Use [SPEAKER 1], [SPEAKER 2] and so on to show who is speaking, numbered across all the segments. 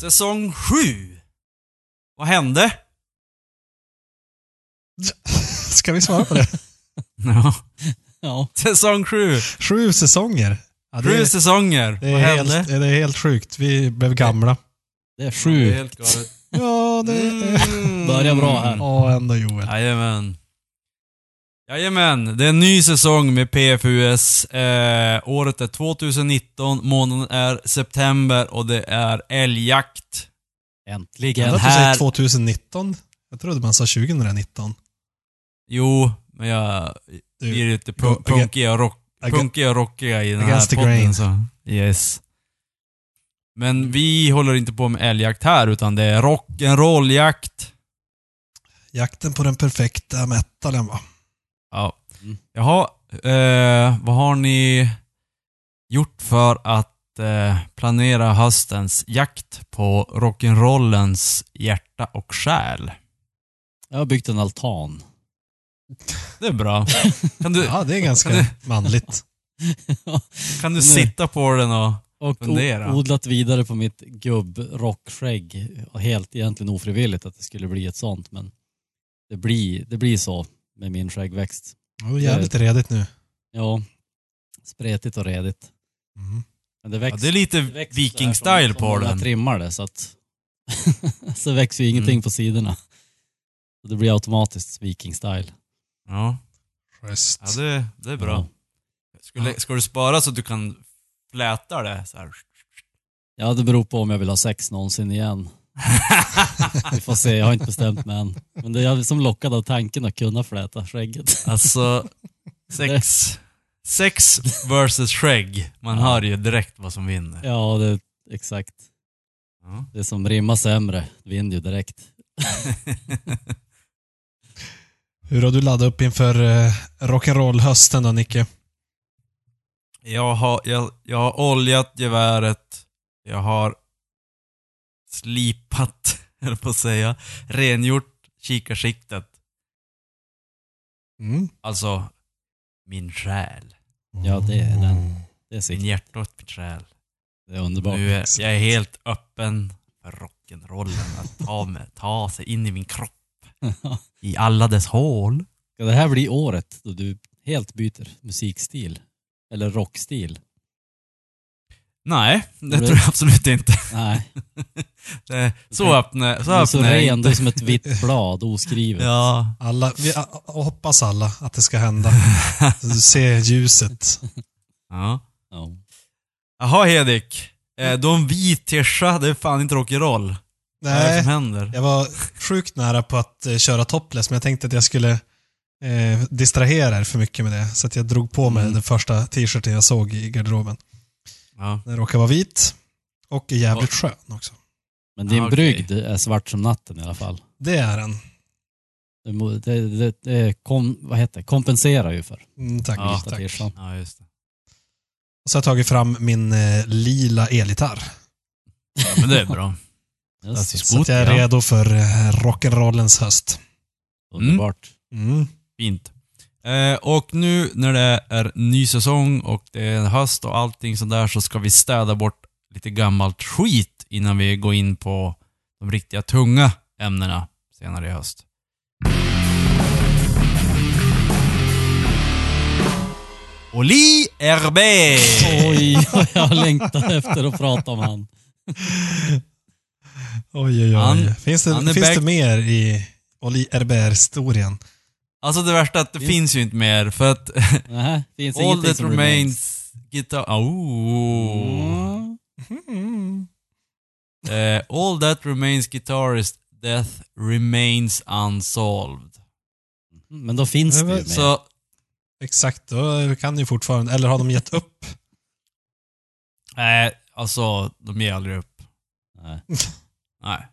[SPEAKER 1] Säsong 7. Vad hände?
[SPEAKER 2] Ska vi svara på det?
[SPEAKER 1] Ja.
[SPEAKER 2] Ja.
[SPEAKER 1] Säsong 7.
[SPEAKER 2] Sju säsonger. Ja, det,
[SPEAKER 1] Sju
[SPEAKER 2] är,
[SPEAKER 1] säsonger.
[SPEAKER 2] det,
[SPEAKER 1] Vad
[SPEAKER 2] är
[SPEAKER 1] hände?
[SPEAKER 2] helt, det är helt sjukt. Vi blev gamla.
[SPEAKER 1] Det
[SPEAKER 3] Det är
[SPEAKER 1] är
[SPEAKER 3] Eh, sju.
[SPEAKER 1] helt galet.
[SPEAKER 2] Ja, det...
[SPEAKER 1] Mm.
[SPEAKER 3] Börjar bra här.
[SPEAKER 2] Ja, ändå Joel.
[SPEAKER 1] Jajamän. Jajamän, det är en ny säsong med PFUS. Eh, året är 2019, månaden är september och det är älgjakt.
[SPEAKER 3] Äntligen
[SPEAKER 2] Ändå att du säger
[SPEAKER 3] här.
[SPEAKER 2] 2019. Jag trodde man sa 2019.
[SPEAKER 1] Jo, men jag
[SPEAKER 2] Du,
[SPEAKER 1] blir lite
[SPEAKER 2] go-
[SPEAKER 1] punk- punkiga och, rock,
[SPEAKER 2] aga-
[SPEAKER 1] punkiga och rockiga i den
[SPEAKER 2] against
[SPEAKER 1] här
[SPEAKER 2] the
[SPEAKER 1] podden.
[SPEAKER 2] grain.
[SPEAKER 1] Så. Yes. Men vi håller inte på med älgjakt här, utan det är rock'n'roll-jakt.
[SPEAKER 2] Jakten på den perfekta metalen va?
[SPEAKER 1] Ja.
[SPEAKER 3] Mm.
[SPEAKER 1] Jaha, eh, vad har ni gjort för att eh, planera höstens jakt på rock'n'rollens hjärta och själ?
[SPEAKER 3] Jag har byggt en altan.
[SPEAKER 1] Det är bra. Kan du,
[SPEAKER 2] Ja, det är ganska manligt.
[SPEAKER 1] kan du
[SPEAKER 3] nu-
[SPEAKER 1] sitta på den och...
[SPEAKER 3] Och
[SPEAKER 1] Fundera.
[SPEAKER 3] o- odlat vidare på mitt gubbrockskägg. Helt egentligen ofrivilligt att det skulle bli ett sånt, men det blir, det blir så med min skäggväxt.
[SPEAKER 2] Det är jävligt redigt nu.
[SPEAKER 3] Ja, spretigt och redigt.
[SPEAKER 2] Mm.
[SPEAKER 3] Men det,
[SPEAKER 1] Ja,
[SPEAKER 3] växer,
[SPEAKER 1] det är lite
[SPEAKER 3] växer så här
[SPEAKER 1] viking-style
[SPEAKER 3] som- som
[SPEAKER 1] på
[SPEAKER 3] många
[SPEAKER 1] den.
[SPEAKER 3] trimmar det, så att så växer ju ingenting
[SPEAKER 1] Mm.
[SPEAKER 3] på sidorna. Så det blir automatiskt viking-style.
[SPEAKER 1] Ja,
[SPEAKER 2] Schysst.
[SPEAKER 1] ja det, det är bra.
[SPEAKER 3] Ja.
[SPEAKER 1] Skulle, ska du spara så att du kan fläta det så här?
[SPEAKER 3] Ja, det beror på om jag vill ha sex någonsin igen. Vi får se, jag har inte bestämt mig än. Men det är jag som lockad av tanken att kunna fläta skägget.
[SPEAKER 1] Alltså, sex... Sex versus skägg. Man
[SPEAKER 3] Ja.
[SPEAKER 1] hör ju direkt vad som vinner.
[SPEAKER 3] Ja, det, exakt.
[SPEAKER 1] Ja.
[SPEAKER 3] Det som rimmar sämre vinner ju direkt.
[SPEAKER 2] Hur har du laddat upp inför eh, rock'n'roll-hösten då, Nicke?
[SPEAKER 1] Jag har, jag, jag har oljat geväret. Jag har slipat, höll på att säga, rengjort kikarsiktet.
[SPEAKER 2] Mm.
[SPEAKER 1] Alltså, min själ.
[SPEAKER 3] Ja, det är
[SPEAKER 2] Mm.
[SPEAKER 3] den. Det är
[SPEAKER 1] Min
[SPEAKER 3] sikt.
[SPEAKER 1] hjärta och min själ.
[SPEAKER 3] Det är underbart.
[SPEAKER 1] Mm. Nu är, jag är helt öppen för rock'n'rollen. Att ta, mig, ta sig in i min kropp. I alla dess hål.
[SPEAKER 3] Ska det här bli året då du helt byter musikstil? Eller rockstil?
[SPEAKER 1] Nej, det tror jag absolut inte.
[SPEAKER 3] Nej,
[SPEAKER 1] Det- Så öppna,
[SPEAKER 3] du
[SPEAKER 1] så
[SPEAKER 3] är så
[SPEAKER 1] öppna är jag
[SPEAKER 3] ren,
[SPEAKER 1] inte.
[SPEAKER 3] du är som ett vitt blad, oskrivet.
[SPEAKER 1] Ja,
[SPEAKER 2] Alla, vi a- a- hoppas alla att det ska hända. Så du ser ljuset.
[SPEAKER 1] ja.
[SPEAKER 3] Ja.
[SPEAKER 1] Jaha Hedik. Eh, du har en vit tischa, det är fan inte rock'n'roll. Vad är det
[SPEAKER 2] Nej,
[SPEAKER 1] som händer?
[SPEAKER 2] jag var sjukt nära på att eh, köra topless, men jag tänkte att jag skulle eh, distrahera er för mycket med det. Så att jag drog på mig
[SPEAKER 1] Mm.
[SPEAKER 2] den första t-shirten jag såg i garderoben.
[SPEAKER 1] Ja.
[SPEAKER 2] Den råkar vara vit och är jävligt skön också.
[SPEAKER 3] Men din
[SPEAKER 1] Ah, okej.
[SPEAKER 3] brygd är svart som natten i alla fall.
[SPEAKER 2] Det är den.
[SPEAKER 3] Det, mo- det, det, det kom, vad heter det? kompenserar ju för.
[SPEAKER 2] Mm, tack.
[SPEAKER 1] Ja,
[SPEAKER 2] tack.
[SPEAKER 3] Tishan.
[SPEAKER 1] ja, just det.
[SPEAKER 2] Och så har jag tagit fram min eh, lila elgitarr.
[SPEAKER 1] Ja, men det är bra.
[SPEAKER 3] Yes,
[SPEAKER 2] Så att jag är
[SPEAKER 1] ja.
[SPEAKER 2] redo för eh, rock'n'rollens höst.
[SPEAKER 3] underbart.
[SPEAKER 2] Mm.
[SPEAKER 1] Fint. Eh, och nu när det är ny säsong och det är höst och allting sånt där så ska vi städa bort lite gammalt skit innan vi går in på de riktiga tunga ämnena senare i höst. Oli Herbe!
[SPEAKER 3] Oj, jag längtar efter att prata om han.
[SPEAKER 2] Oj, oj, oj.
[SPEAKER 1] Han-
[SPEAKER 2] finns det,
[SPEAKER 1] han är
[SPEAKER 2] finns
[SPEAKER 1] back-
[SPEAKER 2] det mer i Oli Herbert-historien?
[SPEAKER 1] Alltså det värsta är att det
[SPEAKER 3] Finns-
[SPEAKER 1] finns ju inte mer för att
[SPEAKER 3] Nej, finns
[SPEAKER 1] All
[SPEAKER 3] ingenting
[SPEAKER 1] that
[SPEAKER 3] som
[SPEAKER 1] remains guitar... Oh.
[SPEAKER 3] Mm.
[SPEAKER 1] Mm. Eh, all that remains guitarist death remains unsolved.
[SPEAKER 3] Men då finns det ju mer.
[SPEAKER 1] Så
[SPEAKER 2] Exakt, då kan det ju fortfarande. Eller har de gett upp?
[SPEAKER 1] Nej, alltså de ger aldrig upp.
[SPEAKER 3] Nej.
[SPEAKER 1] Nej.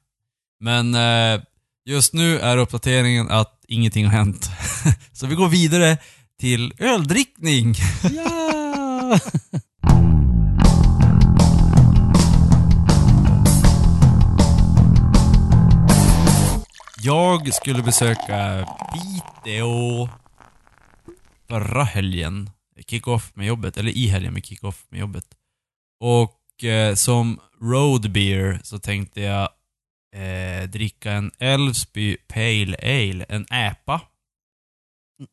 [SPEAKER 1] Men eh, just nu är uppdateringen att ingenting har hänt. Så vi går vidare till öldrickning.
[SPEAKER 3] Ja!
[SPEAKER 1] Jag skulle besöka Piteå förra helgen. Kick-off med jobbet, eller i helgen med kick-off med jobbet. Och eh, som road beer så tänkte jag eh, dricka en Älvsby Pale Ale, en äpa.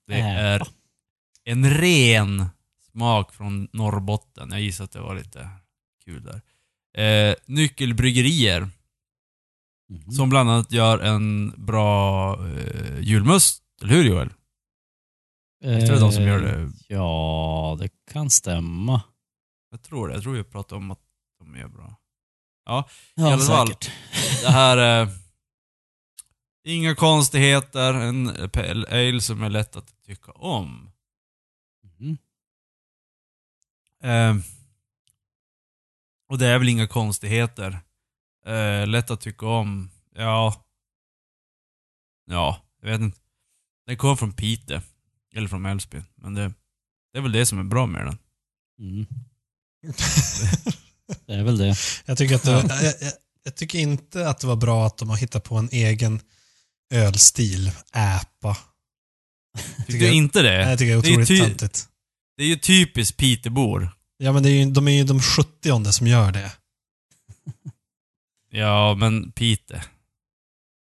[SPEAKER 1] Det
[SPEAKER 3] Äpa.
[SPEAKER 1] är en ren smak från Norrbotten. Jag gissar att det var lite kul där. Eh, nyckelbryggerier.
[SPEAKER 3] Mhm.
[SPEAKER 1] Som bland annat gör en bra eh, julmust, eller hur Joel? Visst är det de som gör det?
[SPEAKER 3] Eh, Ja, det kan stämma.
[SPEAKER 1] Jag tror det. Jag tror vi pratade om att de gör bra. I
[SPEAKER 3] Ja,
[SPEAKER 1] alla fall.
[SPEAKER 3] säkert.
[SPEAKER 1] Det här... Eh, inga konstigheter. En pale ale som är lätt att tycka om.
[SPEAKER 3] Mhm.
[SPEAKER 1] Eh, och det är väl inga konstigheter. Eh, lätt att tycka om. Ja. Ja, jag vet inte. Den kom från Pite Eller från Älvsbyn. Men det, det är väl det som är bra med den.
[SPEAKER 3] Mm. det är väl det.
[SPEAKER 2] Jag tycker, att det, jag, jag, jag tycker inte att det var bra att de har hittat på en egen ölstil. Äpa.
[SPEAKER 1] Tycker du
[SPEAKER 2] jag-
[SPEAKER 1] inte det?
[SPEAKER 2] Nej, Jag tycker det är
[SPEAKER 1] Det är
[SPEAKER 2] otroligt
[SPEAKER 1] ty-
[SPEAKER 2] töntigt.
[SPEAKER 1] Det är ju typiskt Pitebor.
[SPEAKER 2] Ja, men det är ju, de är ju de 70 som gör det.
[SPEAKER 1] Ja, men Pite.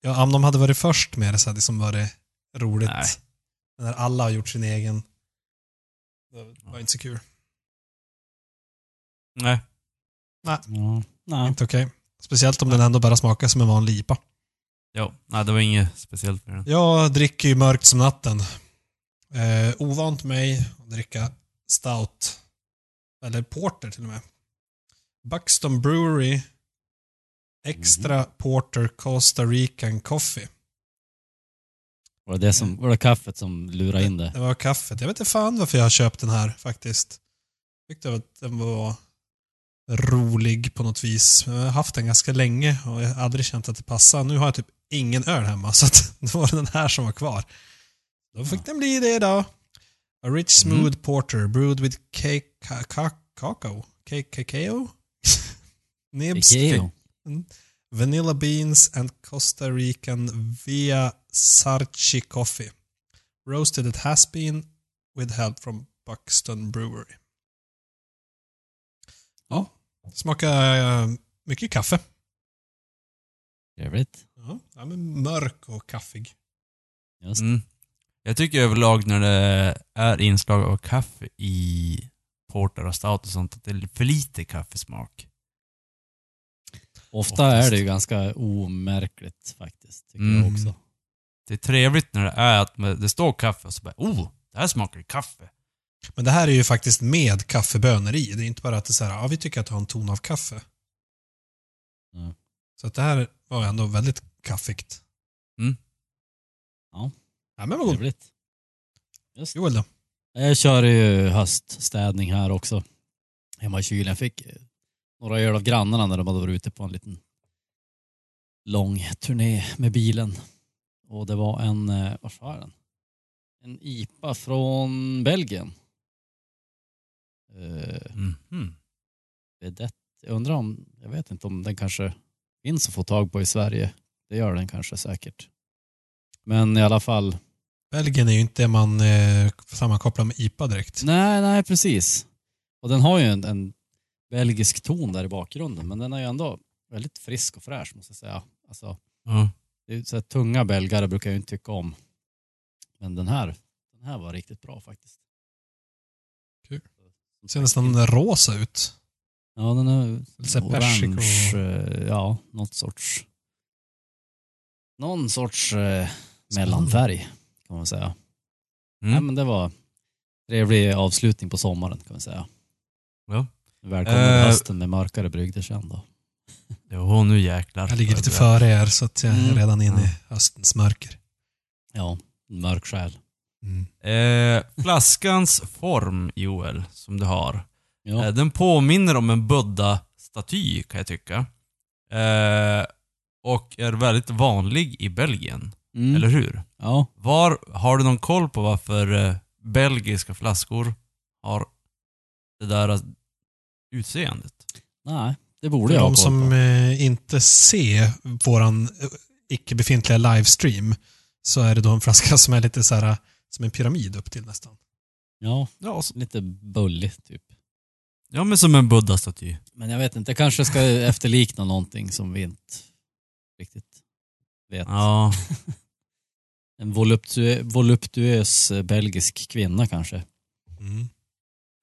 [SPEAKER 2] Ja, om de hade varit först med det så hade det liksom varit roligt.
[SPEAKER 1] Nej.
[SPEAKER 2] Men när alla har gjort sin egen, det var inte så kul.
[SPEAKER 1] Nej.
[SPEAKER 3] Ja. Nej.
[SPEAKER 2] Inte okej. Speciellt om den ändå bara smakar som en vanlig IPA.
[SPEAKER 1] Ja, nej, det var inget speciellt med den.
[SPEAKER 2] Jag dricker ju mörkt som natten. Eh, ovant mig att dricka stout. Eller porter till och med. Buxton Brewery Extra
[SPEAKER 1] Mhm.
[SPEAKER 2] Porter Costa Rican Coffee.
[SPEAKER 3] Var, det det som, var det kaffet som lurade in det?
[SPEAKER 2] Det var kaffet. Jag vet inte fan varför jag har köpt den här faktiskt. Tyckte att den var rolig på något vis. Men Jag har haft den ganska länge och jag har aldrig känt att det passade. Nu har jag typ ingen öl hemma så att då var det den här som var kvar. Då fick den bli det då. A rich smooth porter brewed with cake, ca- ca- cacao. Cake, cacao? Nibs,
[SPEAKER 3] Ikeo.
[SPEAKER 2] vanilla beans and Costa Rican via Sarchi coffee. Roasted it has been with help from Buxton Brewery. Ja, smakar eh, mycket kaffe.
[SPEAKER 3] Trevligt.
[SPEAKER 2] Ja, ja, men mörk och kaffig.
[SPEAKER 3] Just.
[SPEAKER 1] Mm. Jag tycker överlag när det är inslag av kaffe i porter och stout och sånt, att det är för lite kaffesmak.
[SPEAKER 3] Ofta
[SPEAKER 1] Oftast.
[SPEAKER 3] är det ju ganska omärkligt faktiskt, tycker jag
[SPEAKER 1] Mm.
[SPEAKER 3] också.
[SPEAKER 1] Det är trevligt när det är att man- det står kaffe och så bara oh, det här smakar ju kaffe.
[SPEAKER 2] Men det här är ju faktiskt med kaffebönor i. Det är inte bara att det är så här, ja vi tycker att det har en ton av kaffe.
[SPEAKER 3] Mm.
[SPEAKER 2] Så att det här var ändå väldigt kaffigt.
[SPEAKER 1] Mm.
[SPEAKER 3] Ja.
[SPEAKER 2] Ja men vad god.
[SPEAKER 3] Trevligt.
[SPEAKER 2] Joel då?
[SPEAKER 3] Eh, Jag kör ju höststädning här också. Hemma i kylen. Jag fick eh, några öl av grannarna när de hade varit ute på en liten lång turné med bilen. Och det var en, eh, vad var den? En IPA från Belgien. Eh,
[SPEAKER 1] Mm.
[SPEAKER 3] Vedette. Jag undrar om, jag vet inte om den kanske finns att få tag på i Sverige. Det gör den kanske säkert. Men i alla fall
[SPEAKER 2] Belgien är ju inte det man eh, sammankopplar med IPA direkt.
[SPEAKER 3] Nej, nej precis. Och den har ju en, en belgisk ton där i bakgrunden, men den är ju ändå väldigt frisk och fräsch måste jag säga. Alltså,
[SPEAKER 1] Ja.
[SPEAKER 3] det är ju så här, tunga belgare brukar jag ju inte tycka om. Men den här, den här var riktigt bra faktiskt.
[SPEAKER 2] Kul. Ser nästan rosa ut.
[SPEAKER 3] Ja, den är
[SPEAKER 2] Lite så här persik och-
[SPEAKER 3] orange. eh, Ja, något sorts... Någon sorts eh,
[SPEAKER 2] Mm.
[SPEAKER 3] mellanfärg kan man säga.
[SPEAKER 1] Mm.
[SPEAKER 3] Nej, men det var trevlig avslutning på sommaren kan man säga.
[SPEAKER 1] Ja.
[SPEAKER 3] Välkommen
[SPEAKER 1] Eh.
[SPEAKER 3] hösten med mörkare brygder sen då.
[SPEAKER 1] Jo, nu jäklar.
[SPEAKER 2] Jag ligger lite före er så att jag är
[SPEAKER 3] Mm.
[SPEAKER 2] redan inne
[SPEAKER 1] Ja.
[SPEAKER 2] i höstens mörker. Mm.
[SPEAKER 3] Ja, mörk själ.
[SPEAKER 1] Eh, flaskans form, Joel, som du har.
[SPEAKER 3] Ja.
[SPEAKER 1] Eh, Den påminner om en buddha staty kan jag tycka. Eh, och är väldigt vanlig i Belgien,
[SPEAKER 3] Mm.
[SPEAKER 1] eller hur?
[SPEAKER 3] Ja.
[SPEAKER 1] Var, har du någon koll på varför eh, belgiska flaskor har det där eh, utseendet?
[SPEAKER 3] Nej, det borde
[SPEAKER 2] För
[SPEAKER 3] jag ha
[SPEAKER 2] de
[SPEAKER 3] koll på.
[SPEAKER 2] som eh, inte ser våran eh, icke-befintliga livestream så är det då en flaska som är lite så här, eh, som en pyramid upp till nästan.
[SPEAKER 3] Ja,
[SPEAKER 1] Ja,
[SPEAKER 3] lite bullig typ.
[SPEAKER 1] ja men som en buddha-staty.
[SPEAKER 3] Men jag vet inte, jag kanske ska efterlikna någonting som vi inte riktigt vet.
[SPEAKER 1] Ja,
[SPEAKER 3] En voluptu- voluptuös eh, belgisk kvinna kanske. Mm.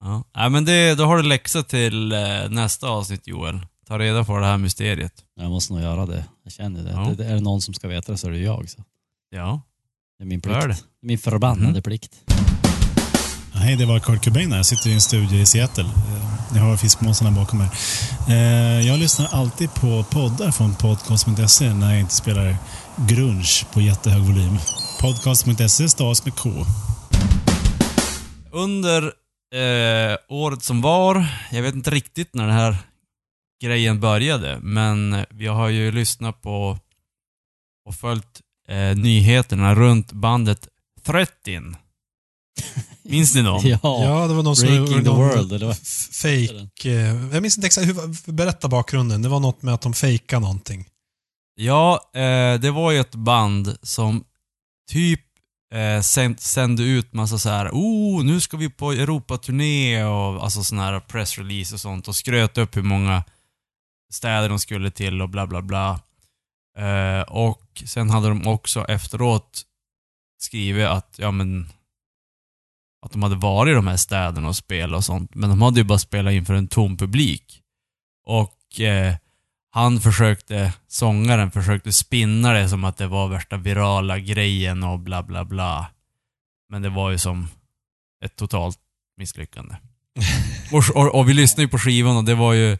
[SPEAKER 1] ja. Nej, men det, då har du läxa till eh, nästa avsnitt Joel. Ta reda på det här mysteriet.
[SPEAKER 3] Jag måste nog göra det. Jag känner det.
[SPEAKER 1] Ja.
[SPEAKER 3] det, det är det någon som ska veta det så är det jag. Så.
[SPEAKER 1] Ja.
[SPEAKER 3] Det är min
[SPEAKER 1] Gör
[SPEAKER 3] plikt. Min förbannade
[SPEAKER 1] Mhm.
[SPEAKER 3] plikt.
[SPEAKER 4] Ja, Hej, det var Kurt Cobain här. Jag sitter i en studio i Seattle. Eh, Ni har fiskmåsarna bakom er. Eh, Jag lyssnar alltid på poddar från podcast.se när jag inte spelar grunge på jättehög volym. Podcast.se stavas med K.
[SPEAKER 1] Under eh, året som var, jag vet inte riktigt när den här grejen började, men vi har ju lyssnat på och följt eh, nyheterna runt bandet Threatin. Minns ni dem?
[SPEAKER 3] Ja.
[SPEAKER 2] Ja, det var någon som...
[SPEAKER 3] Breaking the
[SPEAKER 2] någon
[SPEAKER 3] world, eller vad?
[SPEAKER 2] f- Fake... eh, Jag minns inte exakt. Hur, berätta bakgrunden. Det var något med att de fejkade någonting.
[SPEAKER 1] Ja, eh, det var ju ett band som typ eh, sänd, sände ut massa så här, oh, nu ska vi på Europaturné och alltså sån här pressrelease och sånt och skröt upp hur många städer de skulle till och bla bla bla. Eh, och sen hade de också efteråt skrivit att, ja men, att de hade varit i de här städerna och spelat och sånt, men de hade ju bara spelat inför en tom publik. Och eh, han försökte, sångaren försökte spinna det som att det var värsta virala grejen och bla bla bla. Men det var ju som ett totalt misslyckande. och, och, och vi lyssnade ju på skivan och det var ju,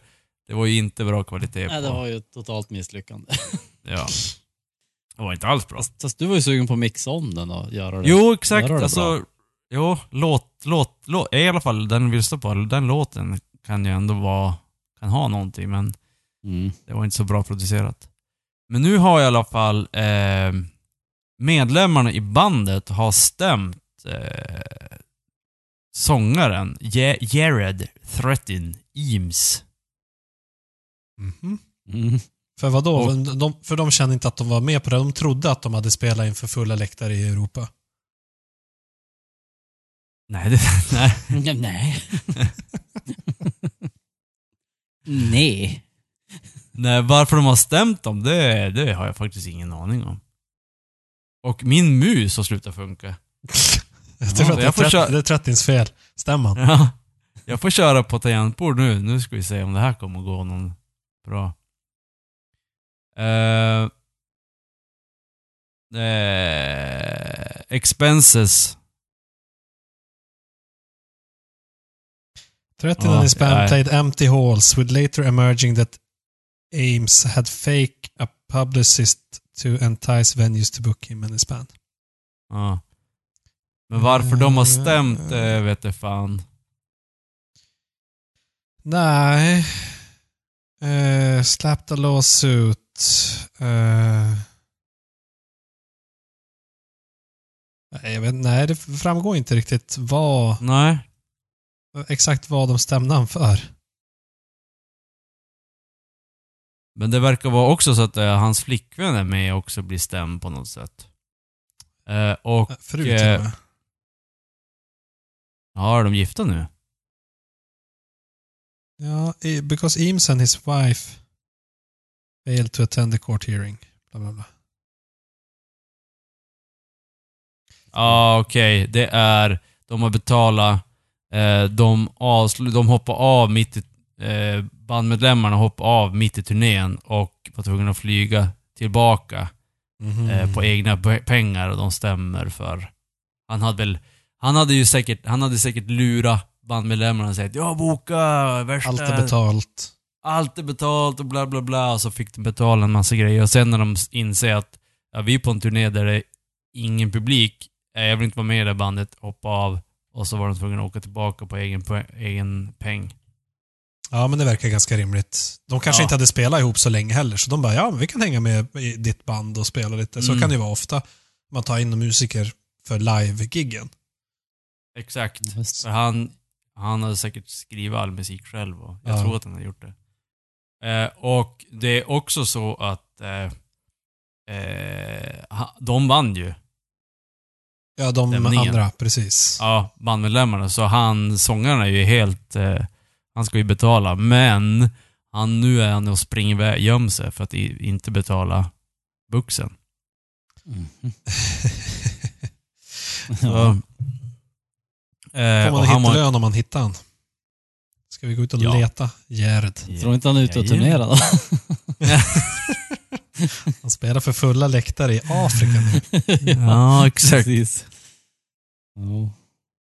[SPEAKER 1] det var ju inte bra kvalitet på.
[SPEAKER 3] Nej, det var ju ett totalt misslyckande.
[SPEAKER 1] Ja. Det var inte alls bra.
[SPEAKER 3] Fast, fast du var ju sugen på att mixa om den och göra det.
[SPEAKER 1] Jo,
[SPEAKER 3] Där
[SPEAKER 1] exakt.
[SPEAKER 3] har du det
[SPEAKER 1] Alltså, jo, låt, låt, låt. I alla fall den vi lyssnade på, den låten kan ju ändå vara, kan ha någonting men
[SPEAKER 3] Mm.
[SPEAKER 1] Det var inte så bra producerat. Men nu har i alla fall eh, medlemmarna i bandet har stämt eh, sångaren Ja- Jared Threatin Eames.
[SPEAKER 2] Mhm.
[SPEAKER 3] Mm.
[SPEAKER 2] För vadå?
[SPEAKER 1] Och-
[SPEAKER 2] Men de, för de kände inte att de var med på det. De trodde att de hade spelat inför fulla läktare i Europa.
[SPEAKER 1] Nej, det, nej.
[SPEAKER 3] Nej. Nej.
[SPEAKER 1] nej, varför de har stämt dem, det, det har jag faktiskt ingen aning om. Och min mus har slutat funka.
[SPEAKER 2] Jag tror
[SPEAKER 1] Ja,
[SPEAKER 2] att det
[SPEAKER 1] jag får
[SPEAKER 2] är
[SPEAKER 1] köra-
[SPEAKER 2] trett- det är Trettins fel. Stämman.
[SPEAKER 1] Ja. Jag får köra på tangentbord nu. Nu ska vi se om det här kommer att gå någon bra. Eh, eh, expenses.
[SPEAKER 2] Trettin
[SPEAKER 1] Ja,
[SPEAKER 2] and his band
[SPEAKER 1] nej.
[SPEAKER 2] played empty halls with later emerging that Ames had fake a publicist to entice venues to book him and his band.
[SPEAKER 1] Ja. Men varför de har stämt, eh, vet jag fan.
[SPEAKER 2] Nej. Uh, slapped a lawsuit. Eh. Nej, jag vet, nej, det framgår inte riktigt vad,
[SPEAKER 1] Nej.
[SPEAKER 2] exakt vad de stämde han för.
[SPEAKER 1] Men det verkar vara också så att eh, hans flickvän är med och också blir stämd på något sätt. Eh, och...
[SPEAKER 2] Förut
[SPEAKER 1] eh,
[SPEAKER 2] till och med.
[SPEAKER 1] Ja, är de gifta nu?
[SPEAKER 2] Ja, i- because Eames and his wife failed to attend the court hearing. Bla, bla, bla.
[SPEAKER 1] Ja, okej. Det är... De har betalat... Eh, de, avslu- de hoppar av mitt i... Eh, bandmedlemmarna hoppar av mitt i turnén och var tvungna att flyga tillbaka
[SPEAKER 2] Mm-hmm. Mm.
[SPEAKER 1] eh, på egna pe- pengar och de stämmer för... Han hade väl... Han hade ju säkert... Han hade säkert lurat bandmedlemmarna och sagt jag boka värsta...
[SPEAKER 2] Allt är betalt.
[SPEAKER 1] allt är betalt och bla bla bla. Och så fick de betala en massa grejer. Och sen när de inser att ja, vi är på en turné där det är ingen publik, eh, jag vill inte vara med i det här bandet, hoppa av. Och så var de tvungna att åka tillbaka på egen, po- egen peng.
[SPEAKER 2] Ja, men det verkar ganska rimligt. De kanske
[SPEAKER 1] Ja.
[SPEAKER 2] inte hade spelat ihop så länge heller, så de bara, ja, men vi kan hänga med i ditt band och spela lite. Så
[SPEAKER 1] Mm.
[SPEAKER 2] kan det ju vara ofta. Man tar in musiker för live-giggen.
[SPEAKER 1] Exakt.
[SPEAKER 3] Ja, visst.
[SPEAKER 1] Mm. För han, han hade säkert skrivit all musik själv och jag
[SPEAKER 2] Ja.
[SPEAKER 1] tror att han har gjort det. Eh, och det är också så att eh, eh, ha- de vann ju.
[SPEAKER 2] Ja, de
[SPEAKER 1] Stämningen.
[SPEAKER 2] andra, precis.
[SPEAKER 1] Ja, bandmedlemmarna. Så han, sångaren är ju helt... Eh, han ska ju betala, men han, nu är han och springer iväg, gömmer sig för att i, inte betala buxen.
[SPEAKER 3] Mm.
[SPEAKER 1] Så, eh,
[SPEAKER 2] Får
[SPEAKER 1] och
[SPEAKER 2] man
[SPEAKER 1] han
[SPEAKER 2] hitta
[SPEAKER 1] var,
[SPEAKER 2] lön om man hittar han? Ska vi gå ut och
[SPEAKER 1] Ja.
[SPEAKER 2] leta? Gerd.
[SPEAKER 3] Tror inte han är ute och
[SPEAKER 1] Ja, ja.
[SPEAKER 3] turnerar då?
[SPEAKER 2] Han spelar för fulla läktare i Afrika nu.
[SPEAKER 1] Ja, exakt.
[SPEAKER 3] Precis. Ja.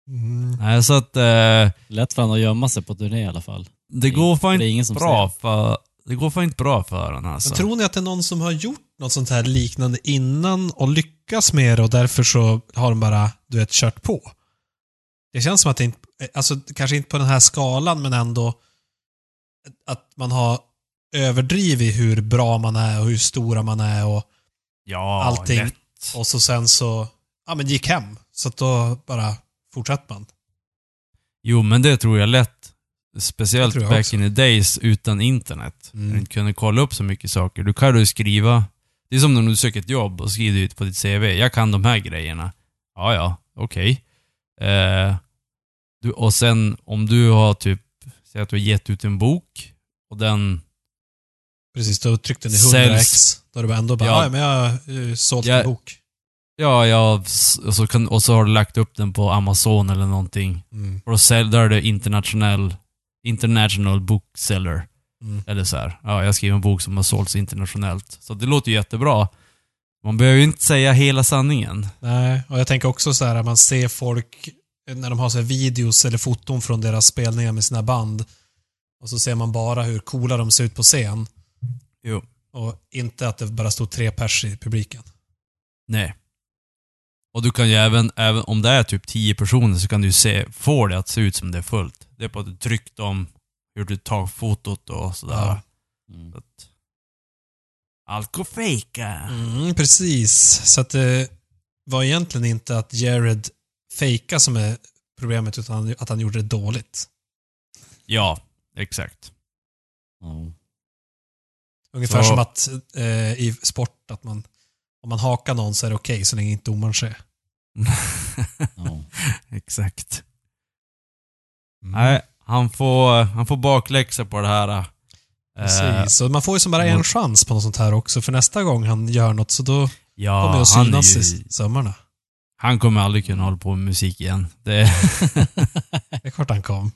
[SPEAKER 2] Mm.
[SPEAKER 1] Nej, så att... Eh,
[SPEAKER 3] Lätt för honom att gömma sig på turné i alla fall.
[SPEAKER 1] Det går fan
[SPEAKER 3] Det är
[SPEAKER 1] inte
[SPEAKER 3] ingen som
[SPEAKER 1] bra för... Det går fan inte bra för honom
[SPEAKER 2] Men
[SPEAKER 1] alltså.
[SPEAKER 2] tror ni att det är någon som har gjort något sånt här liknande innan och lyckas med det och därför så har de bara, du vet, kört på? Det känns som att det inte, alltså kanske inte på den här skalan men ändå att man har överdrivit hur bra man är och hur stora man är och,
[SPEAKER 1] ja,
[SPEAKER 2] allting.
[SPEAKER 1] lätt.
[SPEAKER 2] och så sen så, ja men gick hem. Så att då bara fortsätter man.
[SPEAKER 1] Jo, men det tror jag lätt.
[SPEAKER 2] Det
[SPEAKER 1] Speciellt
[SPEAKER 2] tror jag
[SPEAKER 1] back
[SPEAKER 2] också.
[SPEAKER 1] in the days utan internet.
[SPEAKER 2] Mm.
[SPEAKER 1] När du inte kunde kolla upp så mycket saker. Du kan ju skriva... Det är som när du söker ett jobb och skriver ut på ditt CV. Jag kan de här grejerna. Ja, ja, okej. Eh, du- och sen om du har typ... Säg att du har gett ut en bok och den...
[SPEAKER 2] Precis, då tryckte ni
[SPEAKER 1] Säljs.
[SPEAKER 2] 100x. Då är det bara ändå bara,
[SPEAKER 1] Ja.
[SPEAKER 2] ja. men jag har eh, sålt
[SPEAKER 1] Ja.
[SPEAKER 2] en bok.
[SPEAKER 1] Ja, ja, s- och så, kan, och så har du lagt upp den på Amazon eller någonting.
[SPEAKER 2] Mm.
[SPEAKER 1] Och då sälj- där är det international, international bookseller.
[SPEAKER 2] Mm.
[SPEAKER 1] Eller så här, ja, jag skriver en bok som har sålts internationellt. Så det låter ju jättebra. Man behöver ju inte säga hela sanningen.
[SPEAKER 2] Nej, och jag tänker också så här att man ser folk eh, när de har så här videos eller foton från deras spelningar med sina band. Och så ser man bara hur coola de ser ut på scen.
[SPEAKER 1] Jo.
[SPEAKER 2] Och inte att det bara stod tre pers i publiken.
[SPEAKER 1] Nej. Och du kan ju även, även om det är typ 10 personer så kan du ju se, få det att se ut som det är fullt. Det är på att du tryckt om hur du tar fotot och sådär.
[SPEAKER 2] Ja.
[SPEAKER 3] Mm.
[SPEAKER 1] Så att, allt går fejka.
[SPEAKER 2] Mm, precis. Så att det var egentligen inte att Jared fejka som är problemet utan att han gjorde det dåligt.
[SPEAKER 1] Ja, exakt.
[SPEAKER 3] Ja.
[SPEAKER 2] Ungefär
[SPEAKER 1] Så-
[SPEAKER 2] som att eh, i sport att man om man hakar någon så är det okej så länge inte domaren ser.
[SPEAKER 3] Ja.
[SPEAKER 1] Exakt. Nej, han får, han får bakläxa på det här. eh,
[SPEAKER 2] Precis, så man får ju som bara en
[SPEAKER 1] mot-
[SPEAKER 2] chans på något sånt här också, för nästa gång han gör något så då kommer
[SPEAKER 1] ja,
[SPEAKER 2] jag
[SPEAKER 1] han, är
[SPEAKER 2] synas
[SPEAKER 1] ju,
[SPEAKER 2] i sömmarna.
[SPEAKER 1] han kommer aldrig kunna hålla på med musik igen. Det,
[SPEAKER 2] Det är klart han kom.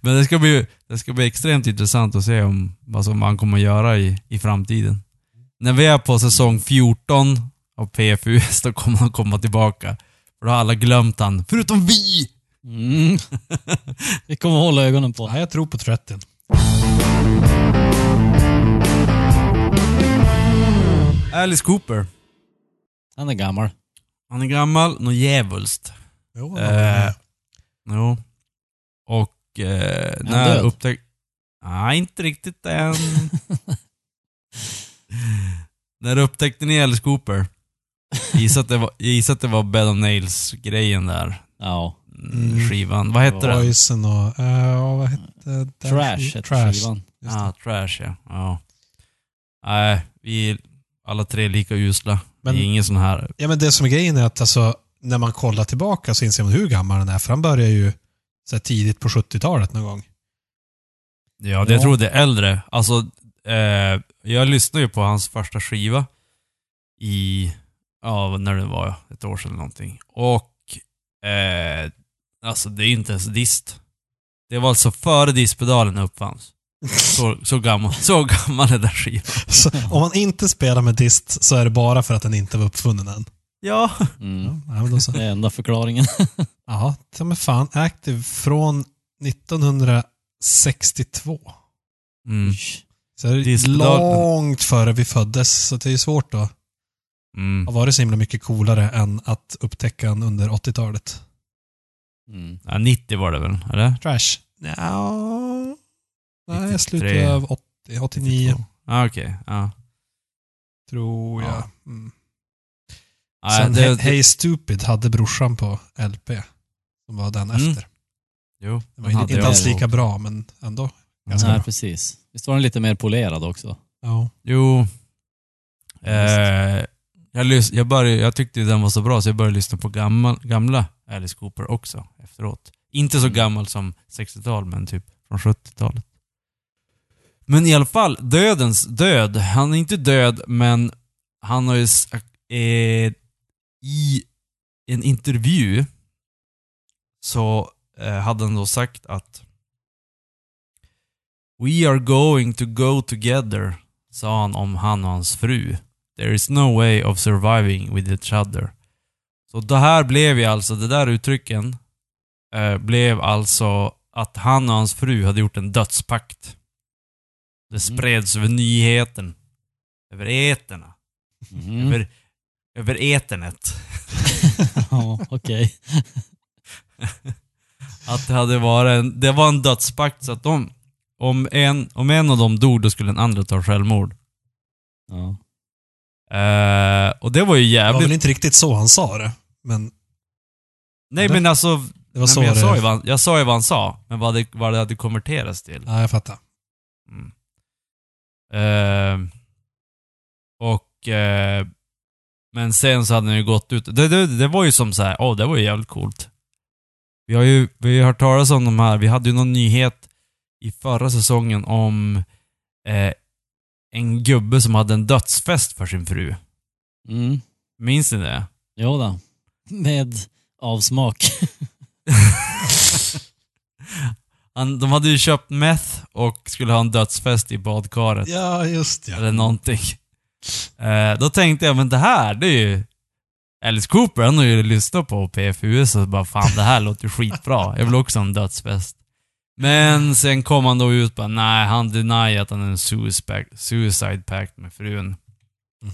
[SPEAKER 1] men det ska, bli, det ska bli extremt intressant att se om, vad som han kommer att göra i, i framtiden. När vi är på säsong 14 av PFUS, då kommer han komma tillbaka. För då har alla glömt han, förutom vi!
[SPEAKER 3] Mm. Vi kommer hålla ögonen på.
[SPEAKER 2] Nej, jag tror på 30.
[SPEAKER 1] Alice Cooper.
[SPEAKER 3] Han är gammal.
[SPEAKER 1] Han är gammal, något djävulskt.
[SPEAKER 2] Jo, han var
[SPEAKER 1] Eh,
[SPEAKER 2] med.
[SPEAKER 1] jo. Och eh,
[SPEAKER 3] han
[SPEAKER 1] när
[SPEAKER 3] död?
[SPEAKER 1] upptäckte... Nej, inte riktigt än. när upptäckte ni Alice Cooper? Gissa att det var, gissa att det var Bed of Nails-grejen där.
[SPEAKER 3] Ja.
[SPEAKER 1] Mm,
[SPEAKER 2] Mm.
[SPEAKER 1] Skivan. Vad hette den?
[SPEAKER 2] Poison och... eh, ja, vad hette den?
[SPEAKER 3] Trash heter skivan.
[SPEAKER 2] just det.
[SPEAKER 1] Ah, trash ja. ja. Nej, vi är alla tre lika usla.
[SPEAKER 2] Men-
[SPEAKER 1] det är ingen sån här...
[SPEAKER 2] Ja, men det som är grejen är att alltså, när man kollar tillbaka så inser man hur gammal den är, för han börjar ju så här, tidigt på 70-talet någon gång.
[SPEAKER 1] Ja, det
[SPEAKER 3] Ja.
[SPEAKER 1] jag tror det är äldre. Alltså, eh, jag lyssnade ju på hans första skiva i, ja, när det var ett år sedan eller någonting. Och, eh, alltså det är ju inte ens dist. Det var alltså före distpedalen uppfanns. Så, så, gammal, så gammal är den skivan.
[SPEAKER 2] Så, om man inte spelar med dist så är det bara för att den inte var uppfunnen än.
[SPEAKER 1] Ja.
[SPEAKER 3] Mm.
[SPEAKER 2] Ja, nej, men då så.
[SPEAKER 3] Det är enda förklaringen.
[SPEAKER 2] Ja, ta mig fan. Active från 1962.
[SPEAKER 1] Mm,
[SPEAKER 2] Så det är
[SPEAKER 1] Det är så
[SPEAKER 2] långt före vi föddes, så det är ju svårt då.
[SPEAKER 1] mm.
[SPEAKER 2] Har varit så himla mycket coolare än att upptäcka en under 80-talet.
[SPEAKER 3] Mm.
[SPEAKER 1] Ja, 90 var det väl, eller?
[SPEAKER 2] Trash? Ja, Nej, jag
[SPEAKER 1] 93.
[SPEAKER 2] slutade av 80, 89
[SPEAKER 1] Ah, Okej, ja.
[SPEAKER 2] tror jag.
[SPEAKER 1] Ja.
[SPEAKER 2] Mm.
[SPEAKER 1] Nej,
[SPEAKER 2] Sen
[SPEAKER 1] det,
[SPEAKER 2] He- Hey Stupid hade brorsan på LP. Som var den
[SPEAKER 1] Mm.
[SPEAKER 2] efter.
[SPEAKER 1] jo,
[SPEAKER 2] Den
[SPEAKER 1] den
[SPEAKER 2] var
[SPEAKER 1] hade
[SPEAKER 2] inte
[SPEAKER 1] jag
[SPEAKER 2] alls
[SPEAKER 1] nog.
[SPEAKER 2] lika bra, men ändå. ganska
[SPEAKER 3] Nej,
[SPEAKER 2] bra.
[SPEAKER 3] precis. Visst var den lite mer polerad också?
[SPEAKER 2] Ja.
[SPEAKER 1] Jo. Eh, jag, lys- jag, började, jag tyckte den var så bra så jag började lyssna på gammal, gamla Alice Cooper också efteråt. Inte så gammal som 60-tal, men typ från 70-talet. Men i alla fall, dödens död. Han är inte död, men han har ju sagt, eh, i en intervju så eh, hade han då sagt att We are going to go together sa han om han och hans fru. There is no way of surviving with each other. Så det här blev ju alltså, det där uttrycken eh, blev alltså att han och hans fru hade gjort en dödspakt. Det spreds över nyheten. Över eterna.
[SPEAKER 3] Mm.
[SPEAKER 1] Över, över eternet.
[SPEAKER 3] ja, okej.
[SPEAKER 1] Att det hade varit en, det var en dödspakt så att de, om en, om en av dem dog då skulle den andra ta självmord.
[SPEAKER 3] Ja.
[SPEAKER 1] Eh, och det var ju
[SPEAKER 2] Det var
[SPEAKER 1] jävligt...
[SPEAKER 2] väl inte riktigt så han sa det, men
[SPEAKER 1] Nej men alltså,
[SPEAKER 2] det var
[SPEAKER 1] Nej,
[SPEAKER 2] så
[SPEAKER 1] men jag,
[SPEAKER 2] det...
[SPEAKER 1] sa ju vad, han- jag sa ju vad han sa, men vad det, vad det hade konverterats till.
[SPEAKER 2] Ja, jag fattar.
[SPEAKER 1] Mm. Eh, och... Eh, men sen så hade den ju gått ut. Det, det, det var ju som så här, åh det var ju jävligt coolt. Vi har ju vi har ju hört talas om de här, vi hade ju någon nyhet i förra säsongen om eh, en gubbe som hade en dödsfest för sin fru.
[SPEAKER 3] Mm.
[SPEAKER 1] Minns ni det?
[SPEAKER 3] Jo då. Med avsmak.
[SPEAKER 1] Han, de hade ju köpt meth och skulle ha en dödsfest i badkaret.
[SPEAKER 2] Ja, just ja.
[SPEAKER 1] eller någonting. Eh, då tänkte jag, men det här, det är ju... Alice Cooper, han har ju lyssnat på PFUS och bara fan det här låter ju skitbra. Jag vill också ha en dödsfest. Men sen kom han då ut och bara, nej han denier att han är en suicide, suicide pact med frun.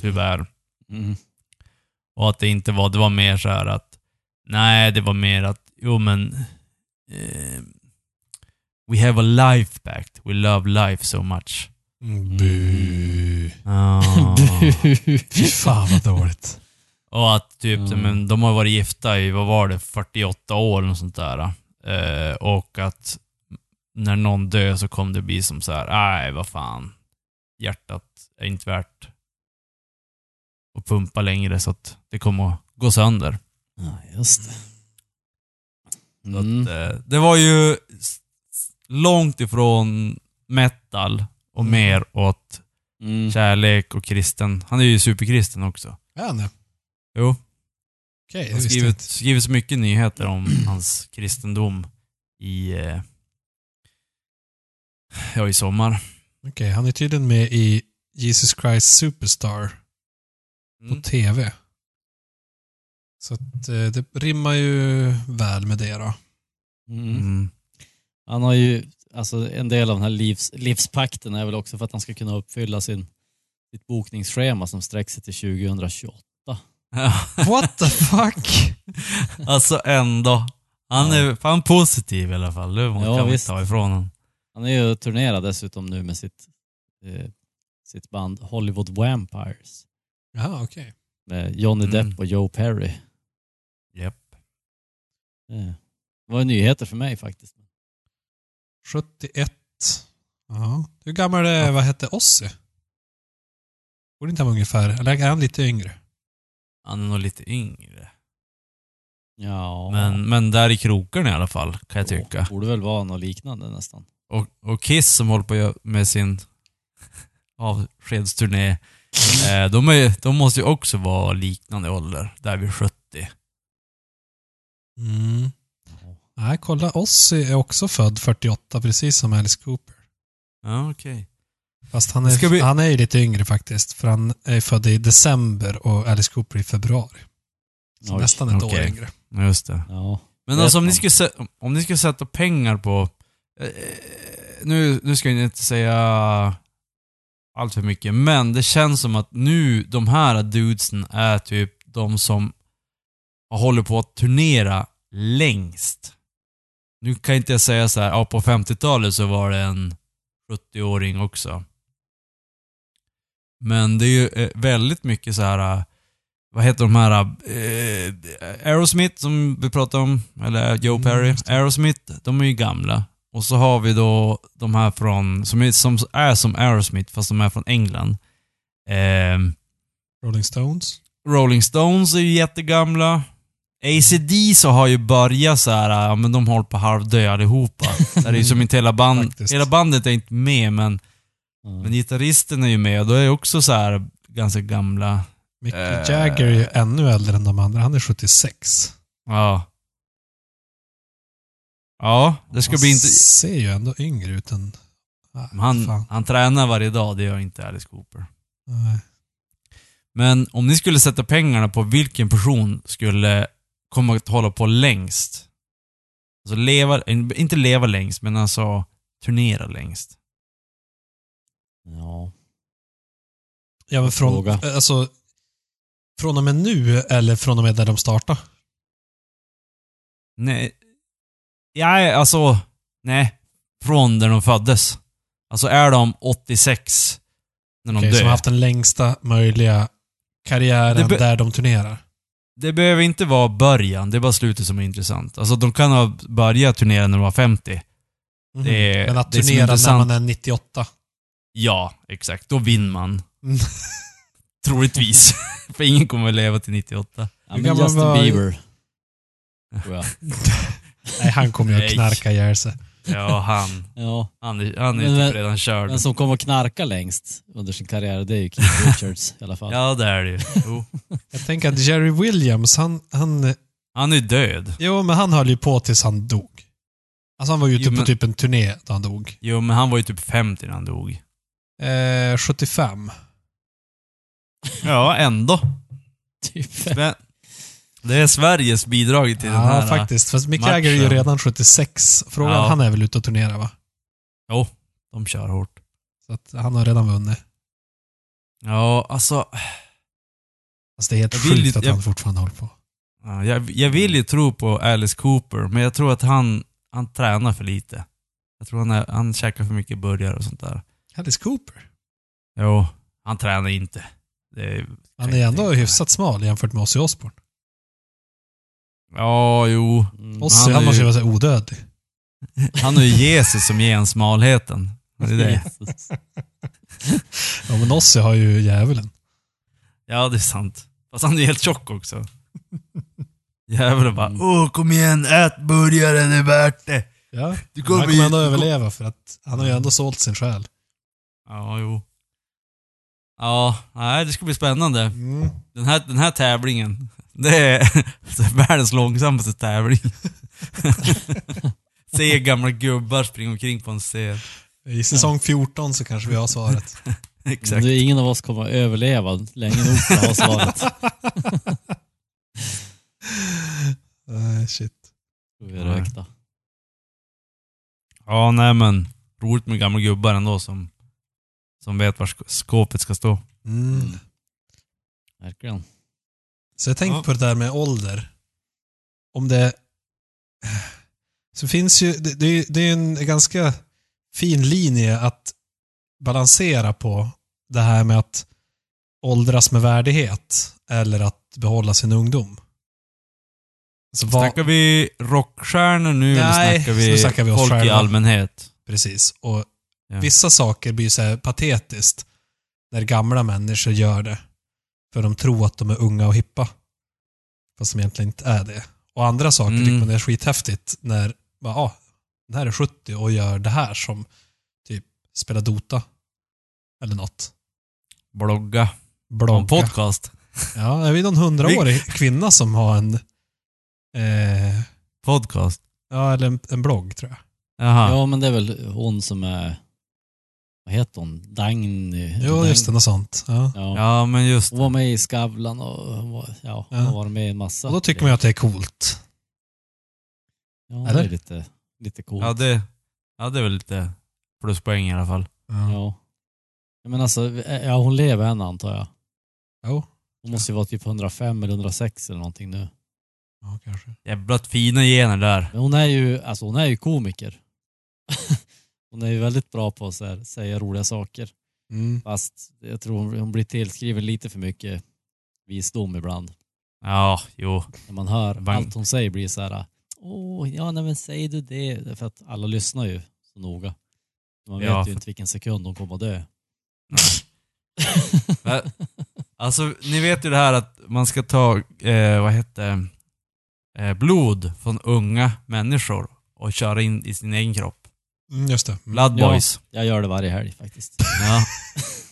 [SPEAKER 1] Tyvärr.
[SPEAKER 3] Mm.
[SPEAKER 1] Och att det inte var, det var mer så här att, nej det var mer att, jo men... Eh, we have a life pact. We love life so much.
[SPEAKER 2] Mm, Bu.
[SPEAKER 1] Ah.
[SPEAKER 2] Fy fan vad dåligt.
[SPEAKER 1] Och att typ,
[SPEAKER 3] Mm.
[SPEAKER 1] men de har varit gifta i, vad var det, 48 år och sånt där. Eh, och att när någon dör så kommer det bli som så här, nej vad fan. Hjärtat är inte värt att pumpa längre så att det kommer att gå sönder.
[SPEAKER 3] ja, just det.
[SPEAKER 1] Så
[SPEAKER 3] Mm.
[SPEAKER 1] att, eh, det var ju s- s- långt ifrån metal och
[SPEAKER 2] Mm.
[SPEAKER 1] mer åt
[SPEAKER 3] Mm.
[SPEAKER 1] kärlek och kristen. Han är ju superkristen också.
[SPEAKER 2] Ja, nej.
[SPEAKER 1] Jo.
[SPEAKER 2] Okej,
[SPEAKER 1] Det
[SPEAKER 2] det
[SPEAKER 1] har
[SPEAKER 2] visste jag
[SPEAKER 1] skrivit,
[SPEAKER 2] inte.
[SPEAKER 1] skrivits mycket nyheter om hans kristendom i, eh, ja, i sommar.
[SPEAKER 2] Okej, han är tydligen med i Jesus Christ Superstar på
[SPEAKER 1] Mm.
[SPEAKER 2] TV. Så att, eh, det rimmar ju väl med det då.
[SPEAKER 3] Mm.
[SPEAKER 1] Mm.
[SPEAKER 3] Han har ju, alltså en del av den här livs, livspakten är väl också för att han ska kunna uppfylla sin, sitt bokningsschema som sträcker sig till 2028.
[SPEAKER 2] What the fuck?
[SPEAKER 1] Mm. alltså ändå. Han
[SPEAKER 3] Ja.
[SPEAKER 1] är fan positiv i alla fall. Det
[SPEAKER 3] Ja,
[SPEAKER 1] kan man
[SPEAKER 3] visst.
[SPEAKER 1] inte ta ifrån honom.
[SPEAKER 3] Han är ju turnerad dessutom nu med sitt, eh, sitt band Hollywood Vampires
[SPEAKER 2] Ja, okej.
[SPEAKER 3] med Eh, Johnny
[SPEAKER 1] Mm.
[SPEAKER 3] Depp och Joe Perry.
[SPEAKER 1] Japp.
[SPEAKER 3] Eh, Det var ju nyheter för mig faktiskt.
[SPEAKER 2] 71. Ja. Hur gammal är, vad hette Ozzy? Borde inte han vara ungefär, eller är han lite yngre?
[SPEAKER 1] Han är nog lite yngre.
[SPEAKER 3] Ja,
[SPEAKER 1] Men, men där i kroken i alla fall, kan jag tycka.
[SPEAKER 3] borde väl vara något liknande nästan.
[SPEAKER 1] Och, och Kiss som håller på att gö- med sin avskedsturné. Eh, de, är, de måste ju också vara liknande ålder, där vid 70.
[SPEAKER 2] Mm. Nej, kolla. Ozzy är också född 48, precis som Alice Cooper.
[SPEAKER 1] Ja, okej.
[SPEAKER 2] Fast han är,
[SPEAKER 1] Ska vi-
[SPEAKER 2] han är ju lite yngre faktiskt, för han är född i december och Alice Cooper i februari. Så
[SPEAKER 3] Oj,
[SPEAKER 2] nästan ett år
[SPEAKER 1] okej.
[SPEAKER 2] yngre.
[SPEAKER 1] Just det.
[SPEAKER 3] Ja.
[SPEAKER 1] Men
[SPEAKER 3] Vet
[SPEAKER 1] alltså om ni,
[SPEAKER 3] man.
[SPEAKER 1] skulle, sä- om ni skulle sätta pengar på... Eh, nu, nu ska jag inte säga allt för mycket, men det känns som att nu de här dudesen är typ de som håller på att turnera längst. Nu kan inte jag säga så här, ja på 50-talet så var det en 70-åring också. Men det är ju eh, väldigt mycket så här. eh, Vad heter de här? Eh, Aerosmith som vi pratade om. Eller Joe Perry. Aerosmith, de är ju gamla. Och så har vi då de här från, som är som, är som Aerosmith fast de är från England. Ehm,
[SPEAKER 2] Rolling Stones.
[SPEAKER 1] Rolling Stones är ju jättegamla. ACDC har ju börjat så här, ja men de håller på att halvdö allihopa. Så det är ju som inte hela bandet,
[SPEAKER 2] Faktiskt.
[SPEAKER 1] hela bandet är inte med men,
[SPEAKER 3] Mm.
[SPEAKER 1] men gitarristen är ju med och då är ju också så här ganska gamla.
[SPEAKER 2] Mick
[SPEAKER 1] Eh.
[SPEAKER 2] Jagger är ju ännu äldre än de andra. Han är 76.
[SPEAKER 1] Ja. Ja, det ska
[SPEAKER 2] han
[SPEAKER 1] bli inte...
[SPEAKER 2] ser ju ändå yngre ut än... Ah,
[SPEAKER 1] men Han,
[SPEAKER 2] fan.
[SPEAKER 1] han tränar varje dag, det gör inte Alice Cooper.
[SPEAKER 2] Nej.
[SPEAKER 1] Men om ni skulle sätta pengarna på vilken person skulle komma att hålla på längst? Alltså leva, inte leva längst, men alltså turnera längst.
[SPEAKER 3] Ja.
[SPEAKER 2] Ja, men från,
[SPEAKER 3] Fråga.
[SPEAKER 2] alltså, från och med nu eller från och med där de startade?
[SPEAKER 1] Nej. Ja, alltså, nej. Från där de föddes. Alltså är de 86 när de
[SPEAKER 2] Okej,
[SPEAKER 1] dör.
[SPEAKER 2] som har haft den längsta möjliga karriären
[SPEAKER 1] Det be-
[SPEAKER 2] där de turnerar.
[SPEAKER 1] Det behöver inte vara början, det är bara slutet som är intressant. Alltså de kan ha börjat turnera när de var 50.
[SPEAKER 2] Mhm.
[SPEAKER 1] Det är-
[SPEAKER 2] men att
[SPEAKER 1] det är som
[SPEAKER 2] turnera när
[SPEAKER 1] intressant.
[SPEAKER 2] man är 98.
[SPEAKER 1] Ja, exakt. Då vinner man.
[SPEAKER 2] Mm.
[SPEAKER 1] Troligtvis. För ingen kommer att leva till 98.
[SPEAKER 3] ja
[SPEAKER 2] Hur
[SPEAKER 3] men
[SPEAKER 2] gammal
[SPEAKER 3] Justin
[SPEAKER 2] var-
[SPEAKER 3] Bieber. Tror jag.
[SPEAKER 2] Nej, han kommer ju att
[SPEAKER 1] Nej.
[SPEAKER 2] knarka ihjäl sig.
[SPEAKER 1] Ja, han.
[SPEAKER 3] Ja.
[SPEAKER 1] Han är, han är
[SPEAKER 3] Men-
[SPEAKER 1] typ redan körd.
[SPEAKER 3] Den som kommer att knarka längst under sin karriär, det är ju Keith Richards i alla fall.
[SPEAKER 1] Ja, det är det ju. Jo.
[SPEAKER 2] Jag tänker att Jerry Williams, han, han,
[SPEAKER 1] Han är död.
[SPEAKER 2] jo, men han höll ju på tills han dog. Alltså han var ute
[SPEAKER 1] Jo,
[SPEAKER 2] på
[SPEAKER 1] men-
[SPEAKER 2] typ en turné då han dog.
[SPEAKER 1] Jo, men han var ju typ 50 när han dog.
[SPEAKER 2] Eh, 75.
[SPEAKER 1] Ja, ändå.
[SPEAKER 3] Typ.
[SPEAKER 1] Men det är Sveriges bidrag till
[SPEAKER 2] Ja,
[SPEAKER 1] den här.
[SPEAKER 2] faktiskt. Fast Mick Jagger är ju
[SPEAKER 1] matchen.
[SPEAKER 2] redan 76. Frågan,
[SPEAKER 1] Ja.
[SPEAKER 2] han är väl ute och turnerar va?
[SPEAKER 1] Jo, de kör hårt.
[SPEAKER 2] Så att han har redan vunnit.
[SPEAKER 1] Ja, alltså.
[SPEAKER 2] Alltså det är helt
[SPEAKER 1] Jag vill
[SPEAKER 2] sjukt
[SPEAKER 1] ju-
[SPEAKER 2] att
[SPEAKER 1] jag-
[SPEAKER 2] han fortfarande håller på.
[SPEAKER 1] ja, Jag, jag vill ju tro på Alice Cooper, men jag tror att han, han tränar för lite. Jag tror han, är, han käkar för mycket burgare och sånt där.
[SPEAKER 2] Alice Cooper.
[SPEAKER 1] Jo, han tränar inte. Det är,
[SPEAKER 2] Han
[SPEAKER 1] kan
[SPEAKER 2] är
[SPEAKER 1] jag
[SPEAKER 2] ändå
[SPEAKER 1] tänka.
[SPEAKER 2] hyfsat smal jämfört med Ozzy Osbourne.
[SPEAKER 1] Ja, jo.
[SPEAKER 3] Mm.
[SPEAKER 2] Ozzy,
[SPEAKER 1] han är
[SPEAKER 2] han måste
[SPEAKER 1] ju-
[SPEAKER 2] ju vara så här odödlig.
[SPEAKER 1] Han är ju Jesus som ger en smalheten. Det är det.
[SPEAKER 3] Jesus.
[SPEAKER 2] Ja, men Ozzy har ju djävulen.
[SPEAKER 1] Ja, det är sant. Fast han är helt tjock också. Djävulen
[SPEAKER 2] Mm.
[SPEAKER 1] bara Åh, kom igen, ät burgare, det är värt det.
[SPEAKER 2] Ja.
[SPEAKER 1] Du
[SPEAKER 2] Men han
[SPEAKER 1] ju-
[SPEAKER 2] kommer ändå
[SPEAKER 1] du
[SPEAKER 2] överleva för att han har ju ändå sålt sin själ.
[SPEAKER 1] Ja, jo. Ja, nej, det ska bli spännande. Den här, den här tävlingen, det är världens långsammaste tävling. Se gamla gubbar springa omkring på en scen.
[SPEAKER 2] I säsong 14 så kanske vi har svaret.
[SPEAKER 1] Exakt.
[SPEAKER 3] Det är ingen av oss kommer att överleva länge nog för att ha svaret.
[SPEAKER 2] Nej, shit.
[SPEAKER 3] tror vi är rökta.
[SPEAKER 1] Ja, nej men. Roligt med gamla gubbar ändå som, som vet var sk- skåpet ska stå.
[SPEAKER 2] Mm.
[SPEAKER 3] Verkligen.
[SPEAKER 2] Så jag tänkte
[SPEAKER 1] Ja.
[SPEAKER 2] på det där med ålder. Om det... Så finns ju... Det, det, är- det är en ganska fin linje att balansera på. Det här med att åldras med värdighet eller att behålla sin ungdom. Alltså, vad-
[SPEAKER 1] Snackar vi rockstjärnor nu
[SPEAKER 2] Nej,
[SPEAKER 1] eller snackar vi,
[SPEAKER 2] nu snackar vi oss
[SPEAKER 1] folk i
[SPEAKER 2] själva.
[SPEAKER 1] allmänhet?
[SPEAKER 2] Precis. Och
[SPEAKER 1] Ja.
[SPEAKER 2] vissa saker blir så här patetiskt när gamla människor gör det. För de tror att de är unga och hippa. Fast de egentligen inte är det. Och andra saker
[SPEAKER 1] Mm.
[SPEAKER 2] tycker man är skithäftigt när, bara, ah, den här är 70 och gör det här som typ spelar Dota. Eller något.
[SPEAKER 1] Blogga. Ha en
[SPEAKER 2] Blogga.
[SPEAKER 1] podcast.
[SPEAKER 2] Ja, det är någon hundraårig kvinna som har en, eh,
[SPEAKER 1] Podcast.
[SPEAKER 2] ja, eller en, en blogg tror jag.
[SPEAKER 1] Jaha.
[SPEAKER 3] Ja, men det är väl hon som är... Vad heter hon? Dagny?
[SPEAKER 2] Jo,
[SPEAKER 3] Dagny.
[SPEAKER 2] just det, något sånt. Ja.
[SPEAKER 3] Ja.
[SPEAKER 1] Ja, men just
[SPEAKER 3] Hon var med i Skavlan och hon var, ja, hon
[SPEAKER 2] Ja.
[SPEAKER 3] har varit med i en massa.
[SPEAKER 2] Och då tycker man ju att det är coolt.
[SPEAKER 3] Ja,
[SPEAKER 2] eller?
[SPEAKER 3] det är lite, lite coolt.
[SPEAKER 1] ja, det. Ja, det är väl lite pluspoäng i alla fall.
[SPEAKER 3] Ja. Ja, Men alltså, ja, hon lever än antar jag.
[SPEAKER 2] Jo.
[SPEAKER 3] Hon måste ju vara typ 105 eller 106 eller någonting nu.
[SPEAKER 2] Ja, kanske.
[SPEAKER 1] Jävla fina gener där.
[SPEAKER 3] Men hon är ju, alltså hon är ju komiker. Hon är ju väldigt bra på att så här, säga roliga saker.
[SPEAKER 2] Mm.
[SPEAKER 3] Fast jag tror hon- hon blir tillskriven lite för mycket visdom ibland.
[SPEAKER 1] Ja, jo.
[SPEAKER 3] När man hör
[SPEAKER 1] Vagn-
[SPEAKER 3] allt hon säger blir så här, åh, ja nej, men säger du det? Det är För att alla lyssnar ju så noga. Man vet
[SPEAKER 1] Ja,
[SPEAKER 3] ju
[SPEAKER 1] för-
[SPEAKER 3] inte vilken sekund hon kommer att dö.
[SPEAKER 1] Men, alltså, ni vet ju det här att man ska ta, eh, vad heter det? eh, blod från unga människor och köra in i sin egen kropp.
[SPEAKER 2] Mm, just det. Mm.
[SPEAKER 1] Blood
[SPEAKER 3] Ja.
[SPEAKER 1] boys.
[SPEAKER 3] Jag gör det varje helg faktiskt.
[SPEAKER 1] Ja.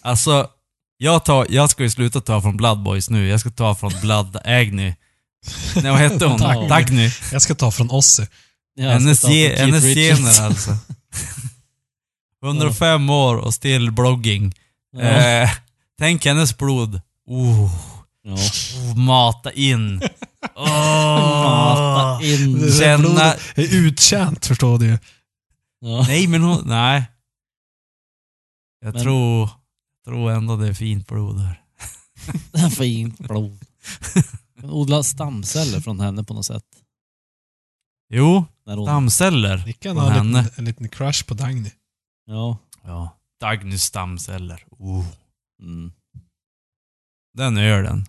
[SPEAKER 1] Alltså, jag, tar, jag ska ju sluta ta från Blood boys nu. Jag ska ta från Blood Agny. Nej, vad hette hon?
[SPEAKER 3] Ja.
[SPEAKER 1] Dagny.
[SPEAKER 2] Jag ska ta från Ossi.
[SPEAKER 3] Ja, jag ska
[SPEAKER 1] Hennes
[SPEAKER 3] ta på
[SPEAKER 1] ge-
[SPEAKER 3] Keith
[SPEAKER 1] hennes
[SPEAKER 3] Richards.
[SPEAKER 1] gener alltså. 105 år och still blogging.
[SPEAKER 3] Ja.
[SPEAKER 1] Eh, tänk hennes blod. Oh,
[SPEAKER 3] Ja.
[SPEAKER 1] oh, mata in.
[SPEAKER 3] Mata
[SPEAKER 1] Oh.
[SPEAKER 3] in.
[SPEAKER 2] Det där
[SPEAKER 1] Känna-
[SPEAKER 2] blodet är
[SPEAKER 3] Mm.
[SPEAKER 2] uttjänt förstår du ju.
[SPEAKER 3] Ja.
[SPEAKER 1] Nej, men hon... Nej. Jag
[SPEAKER 3] Men-
[SPEAKER 1] tror, tror ändå det är fint blod här.
[SPEAKER 3] Fint blod. Men Odla stamceller från henne på något sätt.
[SPEAKER 1] Jo,
[SPEAKER 3] När hon,
[SPEAKER 1] stamceller.
[SPEAKER 2] Nickan
[SPEAKER 1] Från
[SPEAKER 2] har en
[SPEAKER 1] henne.
[SPEAKER 2] liten, en liten crush på Dagny.
[SPEAKER 3] ja.
[SPEAKER 1] Ja. Dagnys stamceller. Oh.
[SPEAKER 3] Mm.
[SPEAKER 1] Den gör den.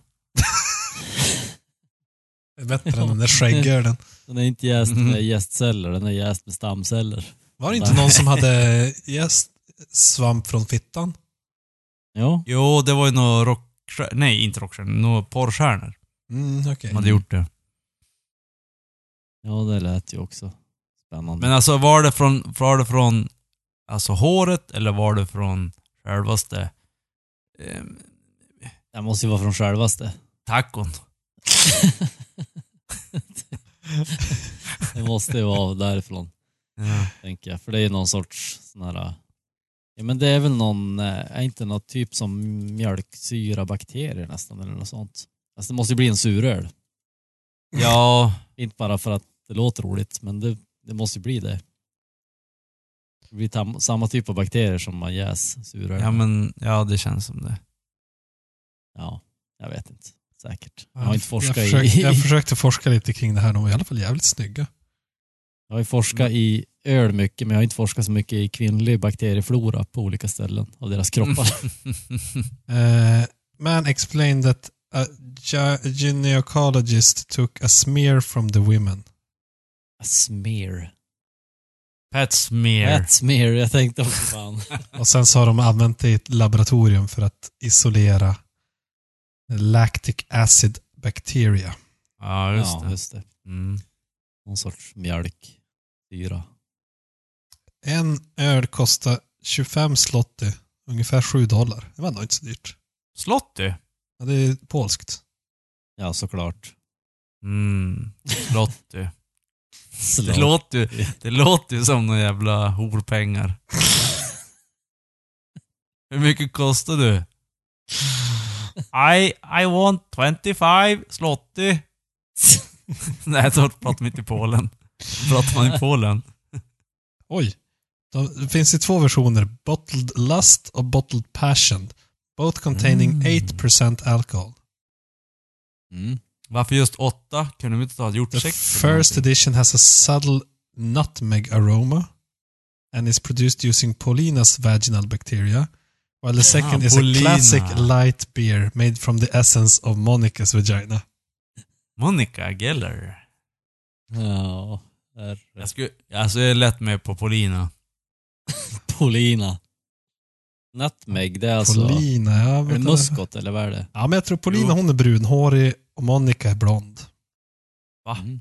[SPEAKER 2] Det är bättre än den där skäggölen.
[SPEAKER 3] Den är inte jäst med
[SPEAKER 1] Mhm.
[SPEAKER 3] jästceller, den är jäst med stamceller.
[SPEAKER 2] Var det inte någon som hade jäst svamp från fittan?
[SPEAKER 3] Ja,
[SPEAKER 1] Jo, det var ju några rock... Nej, inte rockstjärnor. Några porrstjärnor.
[SPEAKER 2] Mm, okej.
[SPEAKER 1] som hade gjort det.
[SPEAKER 3] ja det lät ju också spännande.
[SPEAKER 1] Men alltså var det från, var det från alltså håret eller var det från självaste eh,
[SPEAKER 3] den måste ju vara från självaste.
[SPEAKER 1] tacon?
[SPEAKER 3] Det måste ju vara därifrån,
[SPEAKER 1] Ja.
[SPEAKER 3] tänker jag. För det är ju någon sorts sån här... Ja men det är väl någon, eh, är inte något typ som mjölksyrabakterier nästan eller något sånt. Alltså det måste ju bli en suröl.
[SPEAKER 1] ja,
[SPEAKER 3] Inte bara för att det låter roligt, men det, det måste ju bli det. Det blir tam, samma typ av bakterier som man jäs suröl.
[SPEAKER 1] ja men ja det känns som det.
[SPEAKER 3] Ja, jag vet inte. Säkert. Jag har inte forskat
[SPEAKER 2] jag försökte,
[SPEAKER 3] i...
[SPEAKER 2] jag försökte forska lite kring det här. De var i alla fall jävligt snygga.
[SPEAKER 3] Jag har ju forskat i öl mycket, men jag har inte forskat så mycket i kvinnlig bakterieflora på olika ställen av deras kroppar.
[SPEAKER 2] Eh, man explained that a gy- gynecologist took a smear from the women.
[SPEAKER 3] A smear.
[SPEAKER 1] Pet smear.
[SPEAKER 3] Rat smear, jag tänkte också fan.
[SPEAKER 2] Och sen så har de använt det i ett laboratorium för att isolera lactic acid bacteria.
[SPEAKER 1] Ja, just
[SPEAKER 3] ja,
[SPEAKER 1] det.
[SPEAKER 3] just det.
[SPEAKER 1] Mm.
[SPEAKER 3] Någon sorts mjölk. Syra.
[SPEAKER 2] En öl kostar 25 zloty, ungefär 7 dollar. Det var nog inte så dyrt.
[SPEAKER 1] Slotty.
[SPEAKER 2] Ja, det är polskt.
[SPEAKER 3] Ja, såklart.
[SPEAKER 1] Mm. Slotty. det,
[SPEAKER 3] Slott.
[SPEAKER 1] låter, ju- det låter ju som några jävla horpengar. Hur mycket kostar du? I, I want 25 slotty. Nej, så pratar man inte i Polen. Pratar man i Polen?
[SPEAKER 2] Oj! De, det finns i två versioner. Bottled Lust och Bottled Passion. Both containing 8% alcohol.
[SPEAKER 3] Mm.
[SPEAKER 1] Varför just åtta? Kunde de inte ta gjort
[SPEAKER 2] The
[SPEAKER 1] sex? eller
[SPEAKER 2] first
[SPEAKER 1] någonting?
[SPEAKER 2] edition has a subtle nutmeg aroma and is produced using Paulina's vaginal bacteria, while the second is
[SPEAKER 1] Ah, Paulina.
[SPEAKER 2] a classic light beer made from the essence of Monica's vagina.
[SPEAKER 1] Monica Geller.
[SPEAKER 3] Ja, där.
[SPEAKER 1] Jag, skulle, alltså jag är lätt med på Polina.
[SPEAKER 3] Polina. Nutmeg, det är alltså...
[SPEAKER 2] Paulina, ja.
[SPEAKER 3] Är det
[SPEAKER 2] vänta.
[SPEAKER 3] muskot eller vad är det?
[SPEAKER 2] Ja, men jag tror Paulina
[SPEAKER 1] Jo.
[SPEAKER 2] hon är brunhårig och Monica är blond.
[SPEAKER 1] Va?
[SPEAKER 3] Mm.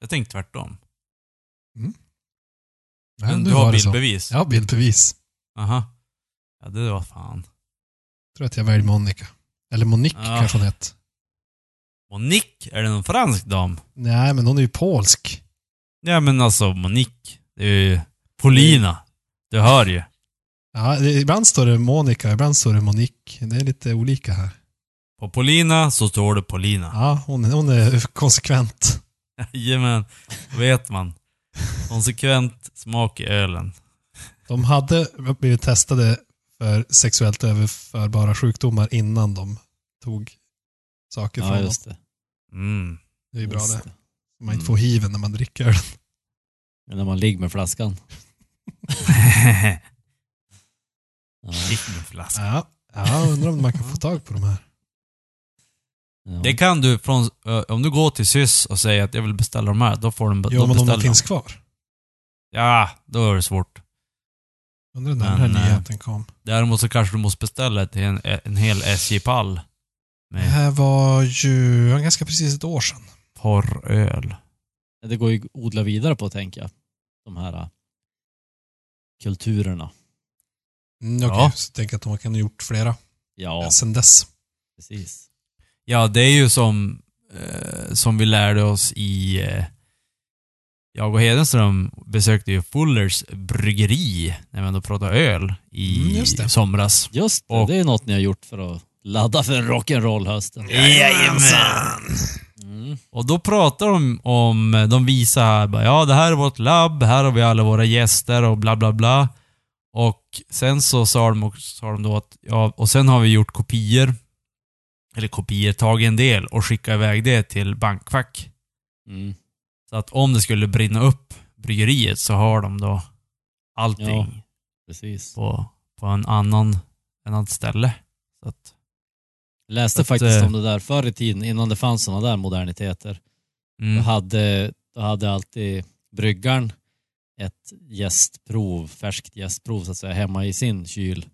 [SPEAKER 1] Jag tänkte tvärtom.
[SPEAKER 2] Ja,
[SPEAKER 1] Men
[SPEAKER 2] nu
[SPEAKER 1] du har
[SPEAKER 2] var det så.
[SPEAKER 1] bildbevis?
[SPEAKER 2] Ja, bildbevis.
[SPEAKER 1] Aha. Ja, det var fan.
[SPEAKER 2] Jag tror att jag väljer Monica. Eller Monique
[SPEAKER 1] Ah.
[SPEAKER 2] kanske hon hette.
[SPEAKER 1] Monique, är det någon fransk dam?
[SPEAKER 2] Nej, men hon är ju polsk.
[SPEAKER 1] Ja men alltså Monique, det är ju Polina. Du hör ju.
[SPEAKER 2] Ja, det, ibland står det Monica, ibland står det Monique. Det är lite olika här.
[SPEAKER 1] På Polina så står det Polina.
[SPEAKER 2] Ja, hon, hon är konsekvent.
[SPEAKER 1] Jajamän, då vet man. Konsekvent smak i ölen.
[SPEAKER 2] De hade blivit testade för sexuellt överförbara sjukdomar innan de tog saker
[SPEAKER 3] Ja,
[SPEAKER 2] från dem.
[SPEAKER 3] just det.
[SPEAKER 1] Mm.
[SPEAKER 2] Det är ju bra
[SPEAKER 3] Just
[SPEAKER 2] det.
[SPEAKER 3] det.
[SPEAKER 2] Man inte får hiven när man dricker öl.
[SPEAKER 3] Men när man ligger med flaskan.
[SPEAKER 1] Fick min flaska.
[SPEAKER 2] Ja. ja, undrar om man kan få tag på de här.
[SPEAKER 3] Ja.
[SPEAKER 1] Det kan du från, eh, om du går till SYS och säger att jag vill beställa de här, då får de,
[SPEAKER 2] Jo,
[SPEAKER 1] då
[SPEAKER 2] men om
[SPEAKER 1] beställer
[SPEAKER 2] de
[SPEAKER 1] de.
[SPEAKER 2] finns kvar.
[SPEAKER 1] Ja, då är det svårt.
[SPEAKER 2] Undrar när den
[SPEAKER 1] Men,
[SPEAKER 2] här
[SPEAKER 1] eh,
[SPEAKER 2] nyheten kom.
[SPEAKER 1] Däremot så kanske du måste beställa till en, eh, en hel SJ-pall
[SPEAKER 2] Det
[SPEAKER 1] med
[SPEAKER 2] här var ju ja, ganska precis ett år sedan.
[SPEAKER 1] porröl.
[SPEAKER 3] Det går ju att odla vidare på, tänker jag. De här eh, kulturerna.
[SPEAKER 2] Mm, Okej,
[SPEAKER 1] Ja.
[SPEAKER 2] så tänk att de kan ha gjort flera
[SPEAKER 3] Ja,
[SPEAKER 2] sedan dess.
[SPEAKER 3] precis.
[SPEAKER 1] Ja, det är ju som, eh, som vi lärde oss i... Eh, jag och Hedenström besökte ju Fullers bryggeri när vi ändå pratade öl i
[SPEAKER 2] Mm, just det.
[SPEAKER 1] somras.
[SPEAKER 3] Just det,
[SPEAKER 1] Och-
[SPEAKER 3] det är något ni har gjort för att ladda för rock'n'roll-hösten.
[SPEAKER 1] Jajamensan!
[SPEAKER 3] Mm.
[SPEAKER 1] Och då pratar de om, de visar här, bara, ja det här är vårt labb, här har vi alla våra gäster och bla bla bla. Och sen så sa de, också, sa de då att, ja, och sen har vi gjort kopior, eller kopior, tagit en del och skickat iväg det till bankfack.
[SPEAKER 3] Mm.
[SPEAKER 1] Så att om det skulle brinna upp bryggeriet så har de då allting
[SPEAKER 3] Ja. Precis.
[SPEAKER 1] på, på en annan, en annat ställe. Så att,
[SPEAKER 3] Jag läste
[SPEAKER 1] Att,
[SPEAKER 3] faktiskt
[SPEAKER 1] eh,
[SPEAKER 3] om det där förr i tiden, innan det fanns sådana där moderniteter.
[SPEAKER 1] mm,
[SPEAKER 3] Då, hade, då hade alltid bryggaren ett gästprov, färskt gästprov så att säga, hemma i sin kyl.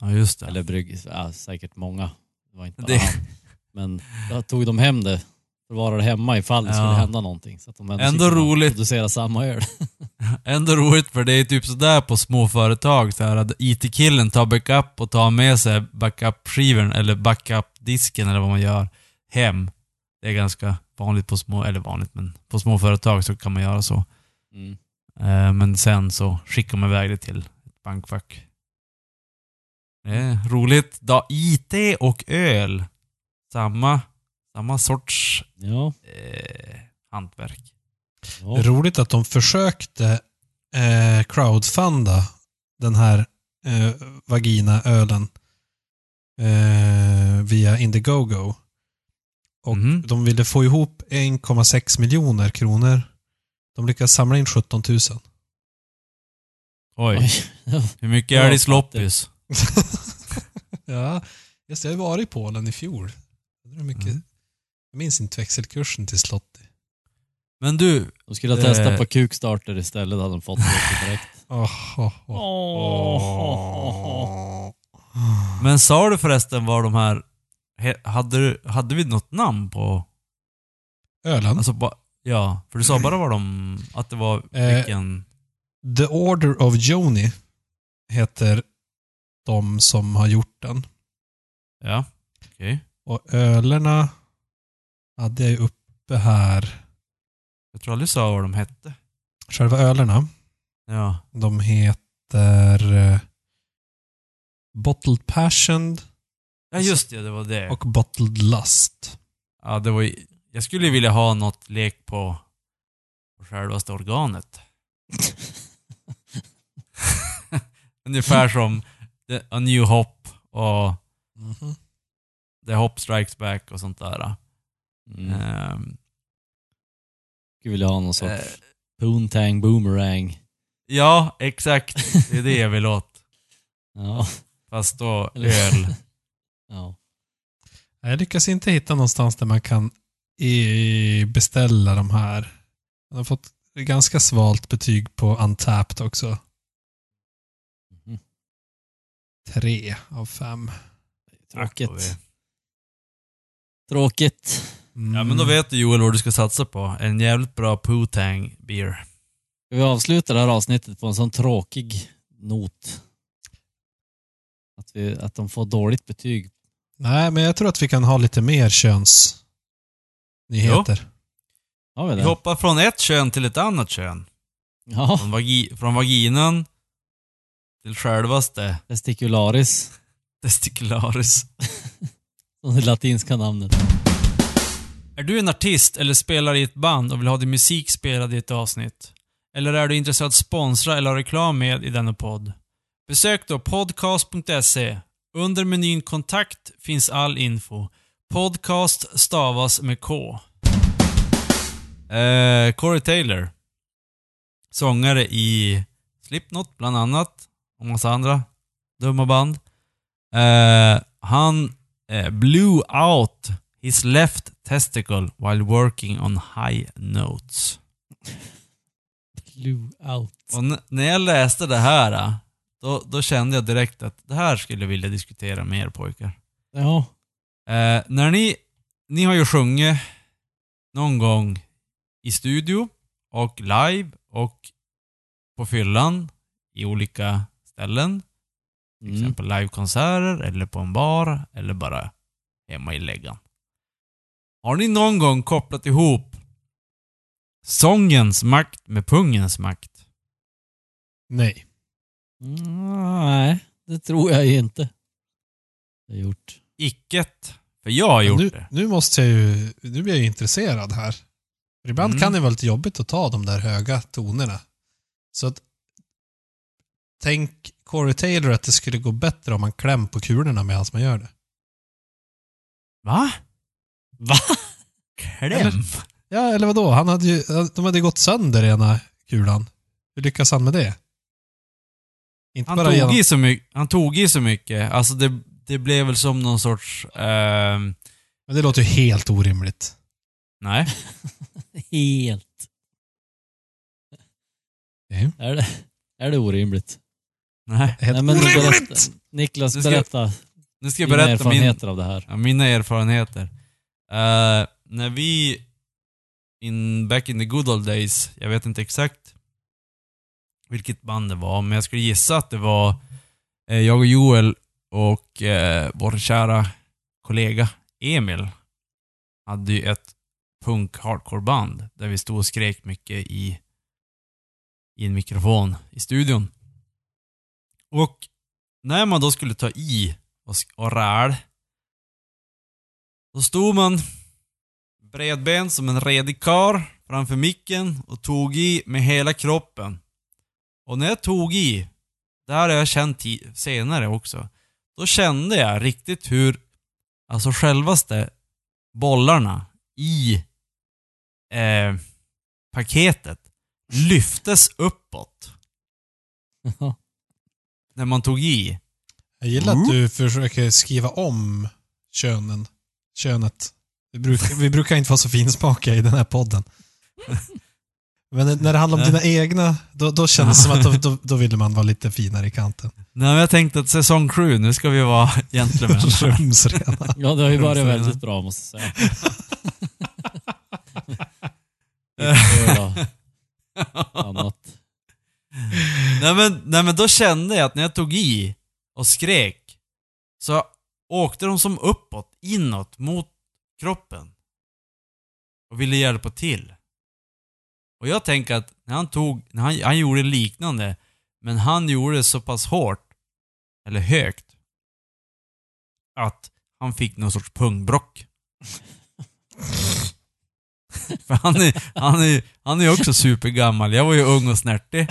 [SPEAKER 1] ja just det.
[SPEAKER 3] Eller brygg, ja, säkert många. Det var inte bara
[SPEAKER 1] Det-
[SPEAKER 3] han. Men då tog de hem det, förvarade det hemma ifall det skulle
[SPEAKER 1] Ja.
[SPEAKER 3] hända någonting. Så att de ändå,
[SPEAKER 1] Ändå
[SPEAKER 3] skulle kunna
[SPEAKER 1] roligt.
[SPEAKER 3] producera samma öl.
[SPEAKER 1] Ändå roligt för det är typ sådär på små företag så här att IT-killen tar backup och tar med sig backup-skivan eller backup-disken eller vad man gör hem. Det är ganska vanligt på små, eller vanligt men på små företag så kan man göra så.
[SPEAKER 3] Mm.
[SPEAKER 1] Eh, Men sen så skickar man iväg det till ett bankfack. Det är roligt. Da, IT och öl. Samma, samma sorts
[SPEAKER 3] Ja,
[SPEAKER 1] eh, hantverk.
[SPEAKER 3] ja.
[SPEAKER 2] Roligt att de försökte eh, crowdfunda den här eh, vaginaölen eh, via Indiegogo. Och
[SPEAKER 1] Mhm.
[SPEAKER 2] de ville få ihop 1,6 miljoner kronor. De lyckades samla in 17 000.
[SPEAKER 1] Oj,
[SPEAKER 3] Oj.
[SPEAKER 1] hur mycket
[SPEAKER 3] Ja,
[SPEAKER 1] är det i
[SPEAKER 3] fattigt.
[SPEAKER 1] sloppis?
[SPEAKER 2] ja, just det. Jag har ju varit i Polen i fjol. Det är mycket,
[SPEAKER 1] Mm.
[SPEAKER 2] Jag minns inte växelkursen till Slotti.
[SPEAKER 1] Men du,
[SPEAKER 3] De skulle ha
[SPEAKER 1] Eh.
[SPEAKER 3] testat på kukstarter istället, hade de fått det direkt.
[SPEAKER 2] Oh, oh, oh.
[SPEAKER 1] Men sa du förresten vad de här... he- Hade, du- hade vi något namn på...
[SPEAKER 2] Ölen.
[SPEAKER 1] Alltså, ba, ja, för du sa bara vad de... Att det var
[SPEAKER 2] Eh,
[SPEAKER 1] vilken...
[SPEAKER 2] The Order of Joni heter de som har gjort den.
[SPEAKER 1] Ja, okej.
[SPEAKER 2] Och ölerna hade jag ju uppe här.
[SPEAKER 1] Jag tror aldrig du sa vad de hette.
[SPEAKER 2] Själva ölerna,
[SPEAKER 1] Ja.
[SPEAKER 2] de heter eh, Bottled Passion
[SPEAKER 1] ja, just det. Det var det.
[SPEAKER 2] och Bottled Lust.
[SPEAKER 1] ja, det var, ju- jag skulle ju vilja ha något lek på, på självaste organet. Ungefär som The, A New Hop och
[SPEAKER 2] Mhm.
[SPEAKER 1] The Hop Strikes Back och sånt där.
[SPEAKER 3] Mm.
[SPEAKER 1] Ehm,
[SPEAKER 3] Skulle vilja ha någon sorts
[SPEAKER 1] eh,
[SPEAKER 3] poontang boomerang.
[SPEAKER 1] ja, exakt. Det är det jag vill åt.
[SPEAKER 3] Ja.
[SPEAKER 1] Fast då
[SPEAKER 3] Eller-
[SPEAKER 1] öl.
[SPEAKER 3] ja.
[SPEAKER 2] Nej, Jag lyckas inte hitta någonstans där man kan eh, beställa de här. Jag har fått ganska svalt betyg på Untapped också.
[SPEAKER 3] Mhm.
[SPEAKER 2] Tre av fem.
[SPEAKER 3] Tråkigt. Tråkigt.
[SPEAKER 1] Ja men då
[SPEAKER 2] Mm.
[SPEAKER 1] vet du Joel vad du ska satsa på. En jävligt bra Putang beer.
[SPEAKER 3] Ska vi avsluta det här avsnittet på en sån tråkig not? Att, vi, att de får dåligt betyg.
[SPEAKER 2] Nej, men jag tror att vi kan ha lite mer könsnyheter.
[SPEAKER 3] Har vi
[SPEAKER 1] Vi
[SPEAKER 3] det?
[SPEAKER 1] hoppar från ett kön till ett annat kön.
[SPEAKER 3] Ja,
[SPEAKER 1] Från, vagi från vaginan till självaste
[SPEAKER 3] testicularis.
[SPEAKER 1] testicularis.
[SPEAKER 3] Som det latinska namnet.
[SPEAKER 1] Är du en artist eller spelar i ett band och vill ha din musik spelad i ett avsnitt? Eller är du intresserad av att sponsra eller ha reklam med i denna podd? Besök då podcast.se. Under menyn kontakt finns all info. Podcast stavas med K. Eh, Corey Taylor. Sångare i Slipknot bland annat och massa andra dumma band. Eh, han eh, blew out his left testicle while working on high notes.
[SPEAKER 3] Blue out.
[SPEAKER 1] Och n- när jag läste det här, eh, då, då kände jag direkt att det här skulle jag vilja diskutera med er pojkar.
[SPEAKER 3] Ja.
[SPEAKER 1] Eh, när ni, ni har ju sjungit någon gång i studio och live och på fyllan i olika ställen. Till
[SPEAKER 3] Mm.
[SPEAKER 1] exempel livekonserter eller på en bar eller bara hemma i läggan. Har ni någon gång kopplat ihop sångens makt med pungens makt?
[SPEAKER 2] Nej.
[SPEAKER 3] Mm, nej, det tror jag inte. Det har gjort.
[SPEAKER 1] Icket. För jag har gjort
[SPEAKER 2] nu,
[SPEAKER 1] det.
[SPEAKER 2] nu måste jag ju... Nu blir jag ju intresserad här. För ibland
[SPEAKER 1] Mm.
[SPEAKER 2] kan det vara lite jobbigt att ta de där höga tonerna. Så att... Tänk Corey Taylor att det skulle gå bättre om man kläm på kulorna medan man gör det.
[SPEAKER 1] Va?
[SPEAKER 3] Va?
[SPEAKER 1] Kläm?
[SPEAKER 2] Ja, eller vadå? Han hade ju, de hade ju gått sönder ena kulan. Hur lyckas han med det? Inte
[SPEAKER 1] Han
[SPEAKER 2] bara
[SPEAKER 1] tog,
[SPEAKER 2] genom...
[SPEAKER 1] i så mycket, han tog i så mycket. Alltså det, det blev väl som någon sorts... ehm,
[SPEAKER 2] Men det låter ju helt orimligt.
[SPEAKER 1] nej.
[SPEAKER 3] Helt.
[SPEAKER 2] Nej.
[SPEAKER 3] Är det, är det orimligt?
[SPEAKER 1] nej.
[SPEAKER 2] Helt
[SPEAKER 3] Nej, men du
[SPEAKER 2] orimligt!
[SPEAKER 3] berätta- Niklas,
[SPEAKER 1] Du ska-
[SPEAKER 3] berätta
[SPEAKER 1] Nu ska jag
[SPEAKER 3] dina
[SPEAKER 1] berätta min,
[SPEAKER 3] erfarenheter av det här.
[SPEAKER 1] ja, mina erfarenheter. Eh, när vi... In, back in the good old days, jag vet inte exakt vilket band det var, men jag skulle gissa att det var eh, jag och Joel och eh, vår kära kollega Emil hade ju ett punk-hardcore-band där vi stod och skrek mycket i, i en mikrofon i studion. Och när man då skulle ta i och, sk- och räl, då stod man bredbent som en redig karl framför micken och tog i med hela kroppen. Och när jag tog i, det här har jag känt ti- senare också, då kände jag riktigt hur, alltså självaste bollarna i eh, paketet lyftes uppåt när man tog i.
[SPEAKER 2] Jag gillar att du försöker skriva om könen. Könet. Vi brukar, vi brukar inte vara så finsmakiga i den här podden. Men när det handlar om dina egna, då, då kändes det som att då, då, då ville man vara lite finare i kanten.
[SPEAKER 1] Nej, men jag tänkte att säsong 7, nu ska vi vara gentlemän.
[SPEAKER 2] Rumsrena.
[SPEAKER 3] Ja, det har ju varit
[SPEAKER 1] Rumsrena.
[SPEAKER 3] väldigt bra måste jag säga. Inte höra annat.
[SPEAKER 1] nej, men, nej men då kände jag att när jag tog i och skrek så åkte de som uppåt, inåt, mot kroppen. Och ville hjälpa till. Och jag tänker att när han tog, när han, han gjorde liknande, men han gjorde det så pass hårt, eller högt, att han fick någon sorts pungbrock. För han är, han är, han är också supergammal. Jag var ju ung och snärtig.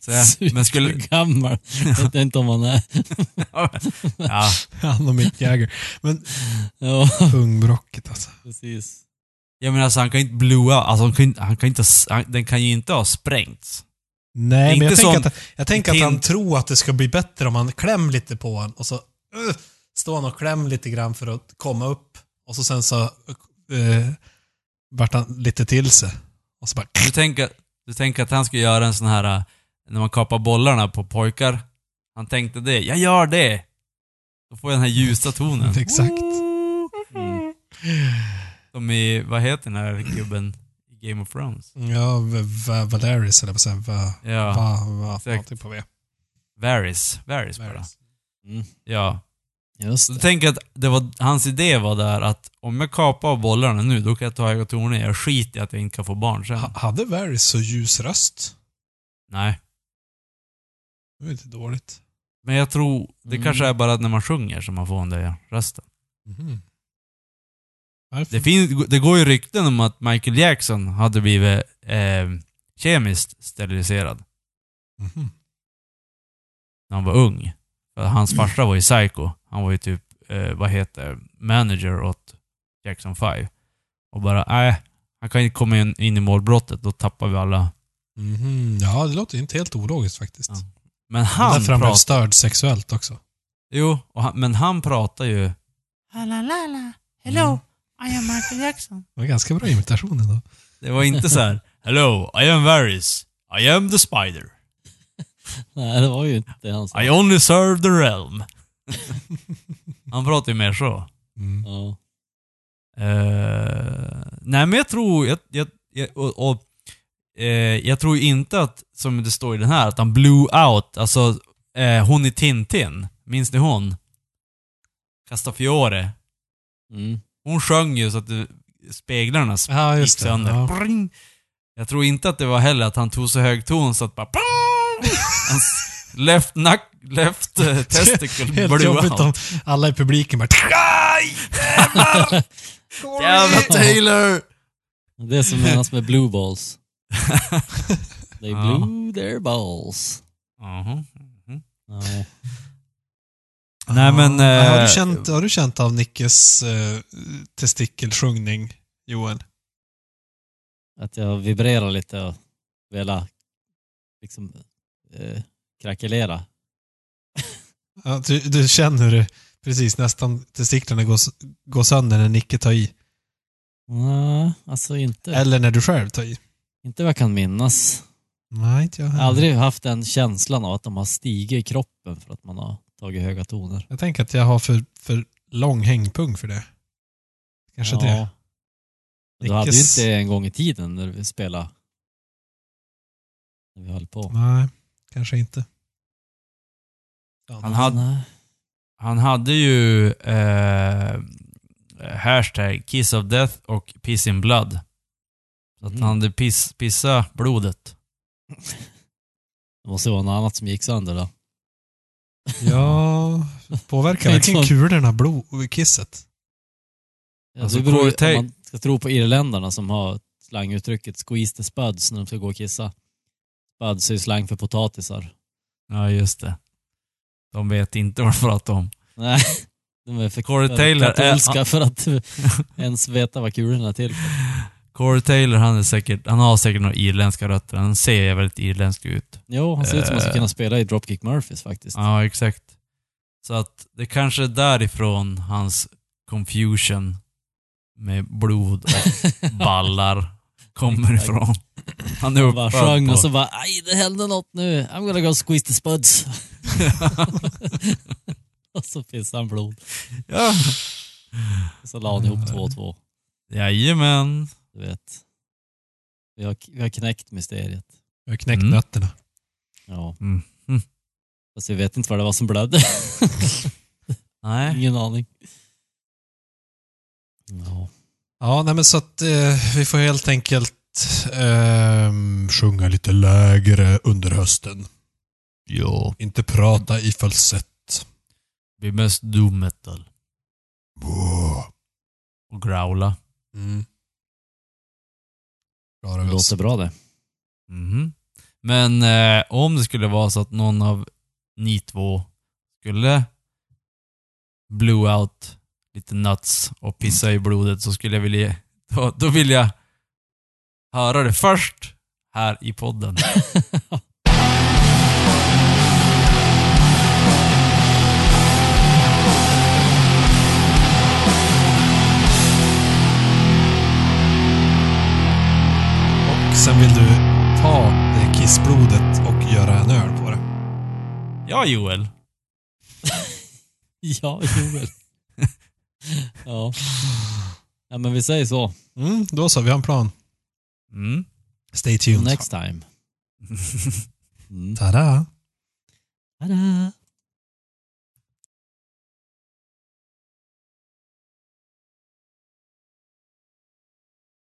[SPEAKER 1] Så jag, men skulle,
[SPEAKER 3] Supergammal. Jag vet inte om man är...
[SPEAKER 1] Ja,
[SPEAKER 2] Han och Mick Jagger.
[SPEAKER 3] Ja,
[SPEAKER 2] Pungbrocket alltså.
[SPEAKER 3] precis.
[SPEAKER 1] jag menar alltså han kan inte blåa, alltså han kan, inte- han kan inte, han, den kan ju inte ha sprängts.
[SPEAKER 2] Nej,
[SPEAKER 1] Inte
[SPEAKER 2] men jag
[SPEAKER 1] sån-
[SPEAKER 2] tänker, att, jag tänker att han
[SPEAKER 1] Tin-
[SPEAKER 2] tror att det ska bli bättre om han kläm lite på han och så uh, står han och kläm lite grann för att komma upp och så sen så uh, vart han lite till sig. Och så bara...
[SPEAKER 1] Du tänker, du tänker att han ska göra en sån här, äh, när man kapar bollarna på pojkar. Han tänkte det, jag gör det! Då får jag den här ljusa tonen.
[SPEAKER 2] Exakt.
[SPEAKER 1] Mm. Som i, vad heter den här gubben i Game of Thrones?
[SPEAKER 2] Ja, v- v- Valeris eller vad säger jag?
[SPEAKER 1] Ja,
[SPEAKER 2] Va, va,
[SPEAKER 1] exakt.
[SPEAKER 2] någonting på V.
[SPEAKER 1] Varys. Varys bara.
[SPEAKER 2] Varys.
[SPEAKER 3] Mm.
[SPEAKER 1] Ja. Så
[SPEAKER 3] Just det.
[SPEAKER 1] tänk att det var, hans idé var där att om jag kapar bollarna nu, då kan jag ta höga toner. Jag skiter i att jag inte kan få barn sen.
[SPEAKER 2] Ha, hade Varys så ljus röst?
[SPEAKER 1] Nej.
[SPEAKER 2] Det var inte dåligt.
[SPEAKER 1] Men jag tror, det
[SPEAKER 3] Mm.
[SPEAKER 1] kanske är bara när man sjunger som man får den där rösten.
[SPEAKER 2] Mhm. Varför?
[SPEAKER 1] Det, finns, det går ju rykten om att Michael Jackson hade blivit eh, kemiskt steriliserad
[SPEAKER 2] Mhm.
[SPEAKER 1] när han var ung. För hans farsa var ju psycho. Han var ju typ, eh, vad heter det, manager åt Jackson 5. Och bara, nej, han kan inte komma in, in i målbrottet. Då tappar vi alla
[SPEAKER 2] Mhm. Ja, det låter inte helt ologiskt faktiskt.
[SPEAKER 1] Ja. Men han
[SPEAKER 2] Därför han blev
[SPEAKER 1] pratar...
[SPEAKER 2] störd sexuellt också.
[SPEAKER 1] Jo, och han, men han pratar ju...
[SPEAKER 2] Hello, I am Michael Jackson. Det var ganska bra imitation ändå.
[SPEAKER 1] Det var inte så här. Hello, I am Varys. I am the spider.
[SPEAKER 3] Nej, det var ju inte hans.
[SPEAKER 1] I only serve the realm. han pratar ju mer så.
[SPEAKER 2] Mm.
[SPEAKER 3] Ja.
[SPEAKER 1] Eh, nej men jag tror, jag, jag, jag, och, och, eh, jag tror ju inte att, som det står i den här, att han blew out, alltså eh, hon i Tintin, minns ni hon? Castafiore.
[SPEAKER 3] Mm.
[SPEAKER 1] Hon sjöng ju så att det, speglarna sp-
[SPEAKER 2] Ja,
[SPEAKER 1] gick
[SPEAKER 2] just det.
[SPEAKER 1] sönder.
[SPEAKER 2] Ja.
[SPEAKER 1] Pring! Jag tror inte att det var heller att han tog så hög ton så att bara pring! Hans left nack, left eh, testicle
[SPEAKER 2] Helt
[SPEAKER 1] blew
[SPEAKER 2] jobbigt
[SPEAKER 1] out.
[SPEAKER 2] om alla i publiken bara...
[SPEAKER 1] Aj! Jävlar! Jävla Taylor!
[SPEAKER 3] Det är som menas med blue balls. They
[SPEAKER 1] Ja.
[SPEAKER 3] blew their balls.
[SPEAKER 1] Jaha. mhm.
[SPEAKER 3] Ja.
[SPEAKER 1] Nej men...
[SPEAKER 2] Ja, har, du
[SPEAKER 1] eh,
[SPEAKER 2] känt, har du känt av Nickes eh, testikelsjungning, Joel?
[SPEAKER 3] Att jag vibrerar lite och velar liksom eh, krackelera.
[SPEAKER 2] Ja, du, du känner hur det precis nästan testiklarna går, s- går sönder när Nicke tar i.
[SPEAKER 3] Nej, alltså inte,
[SPEAKER 2] Eller när du själv tar i.
[SPEAKER 3] inte vad jag kan minnas.
[SPEAKER 2] Nej, inte jag
[SPEAKER 3] Jag
[SPEAKER 2] heller.
[SPEAKER 3] har aldrig haft den känslan av att de har stigit i kroppen för att man har tagit höga toner.
[SPEAKER 2] Jag tänker att jag har för, för lång hängpung för det. Kanske
[SPEAKER 3] Ja.
[SPEAKER 2] det.
[SPEAKER 3] Men Du hade ju
[SPEAKER 2] Nickes-
[SPEAKER 3] inte en gång i tiden när vi spelade. När vi höll på.
[SPEAKER 2] Nej, kanske inte.
[SPEAKER 1] Han hade-
[SPEAKER 3] Nej.
[SPEAKER 1] Han hade ju eh, hashtag Kiss of Death och Piss in Blood. Så att
[SPEAKER 3] Mm.
[SPEAKER 1] han hade piss, pissa blodet.
[SPEAKER 3] Det måste vara något annat som gick sönder då.
[SPEAKER 2] Ja, påverkar
[SPEAKER 3] Det är
[SPEAKER 2] verkligen
[SPEAKER 3] sånt.
[SPEAKER 2] kulorna blod, kisset?
[SPEAKER 3] Ja,
[SPEAKER 1] Alltså,
[SPEAKER 3] det beror ju
[SPEAKER 1] Corey
[SPEAKER 3] om man ska tro på irländarna som har slanguttrycket “squeeze the spuds” när de ska gå och kissa. Spuds är ju slang för potatisar.
[SPEAKER 1] Ja, just det. De vet inte vad de pratar om.
[SPEAKER 3] Nej, de är för
[SPEAKER 1] Corey
[SPEAKER 3] för
[SPEAKER 1] Taylor är-
[SPEAKER 3] katolska för att ens veta vad kulorna är till för.
[SPEAKER 1] Corey Taylor, han, är säkert, han har säkert några irländska rötter. Han ser väldigt irländsk ut.
[SPEAKER 3] Jo, han ser ut som att han
[SPEAKER 1] Eh.
[SPEAKER 3] skulle kunna spela i Dropkick Murphys faktiskt.
[SPEAKER 1] Ja, exakt. Så att det kanske är därifrån hans confusion med blod och ballar kommer
[SPEAKER 3] Exakt.
[SPEAKER 1] ifrån. Han är
[SPEAKER 3] Han bara
[SPEAKER 1] uppfödd
[SPEAKER 3] sjöng
[SPEAKER 1] på-
[SPEAKER 3] och så bara “Aj, det hände något nu. I'm gonna go squeeze the spuds”. och så pissade han blod.
[SPEAKER 1] Ja.
[SPEAKER 3] Och så la han
[SPEAKER 1] Eh.
[SPEAKER 3] ihop två och två.
[SPEAKER 1] Jajamän.
[SPEAKER 3] Du vet. Vi har, vi har knäckt mysteriet.
[SPEAKER 2] Jag har knäckt
[SPEAKER 1] Mm.
[SPEAKER 2] nötterna.
[SPEAKER 3] Ja.
[SPEAKER 1] Mm.
[SPEAKER 3] Fast vi vet inte vad det var som blödde.
[SPEAKER 1] Nej.
[SPEAKER 3] Ingen aning. Ja.
[SPEAKER 2] Ja, nej men så att eh, vi får helt enkelt ehm, sjunga lite lägre under hösten.
[SPEAKER 1] Ja.
[SPEAKER 2] Inte prata i falsett.
[SPEAKER 1] Vi är mest doom metal.
[SPEAKER 2] Wow.
[SPEAKER 1] Och growla.
[SPEAKER 2] Mm. Klarar
[SPEAKER 3] Det
[SPEAKER 2] vi oss.
[SPEAKER 3] låter bra det.
[SPEAKER 1] Mhm. Men eh, om det skulle vara så att någon av ni två skulle blow out lite nuts och pissa i blodet så skulle jag vilja... Då, då vill jag höra det först här i podden.
[SPEAKER 2] Och sen vill du ta det kissblodet och göra en öl på det.
[SPEAKER 1] Ja, Joel.
[SPEAKER 3] Ja, Joel. ja. ja, men vi säger så.
[SPEAKER 2] Mm, då så, vi har en plan.
[SPEAKER 1] Mm.
[SPEAKER 2] Stay tuned.
[SPEAKER 3] Next time. Mm.
[SPEAKER 2] Ta-da!
[SPEAKER 3] Tada.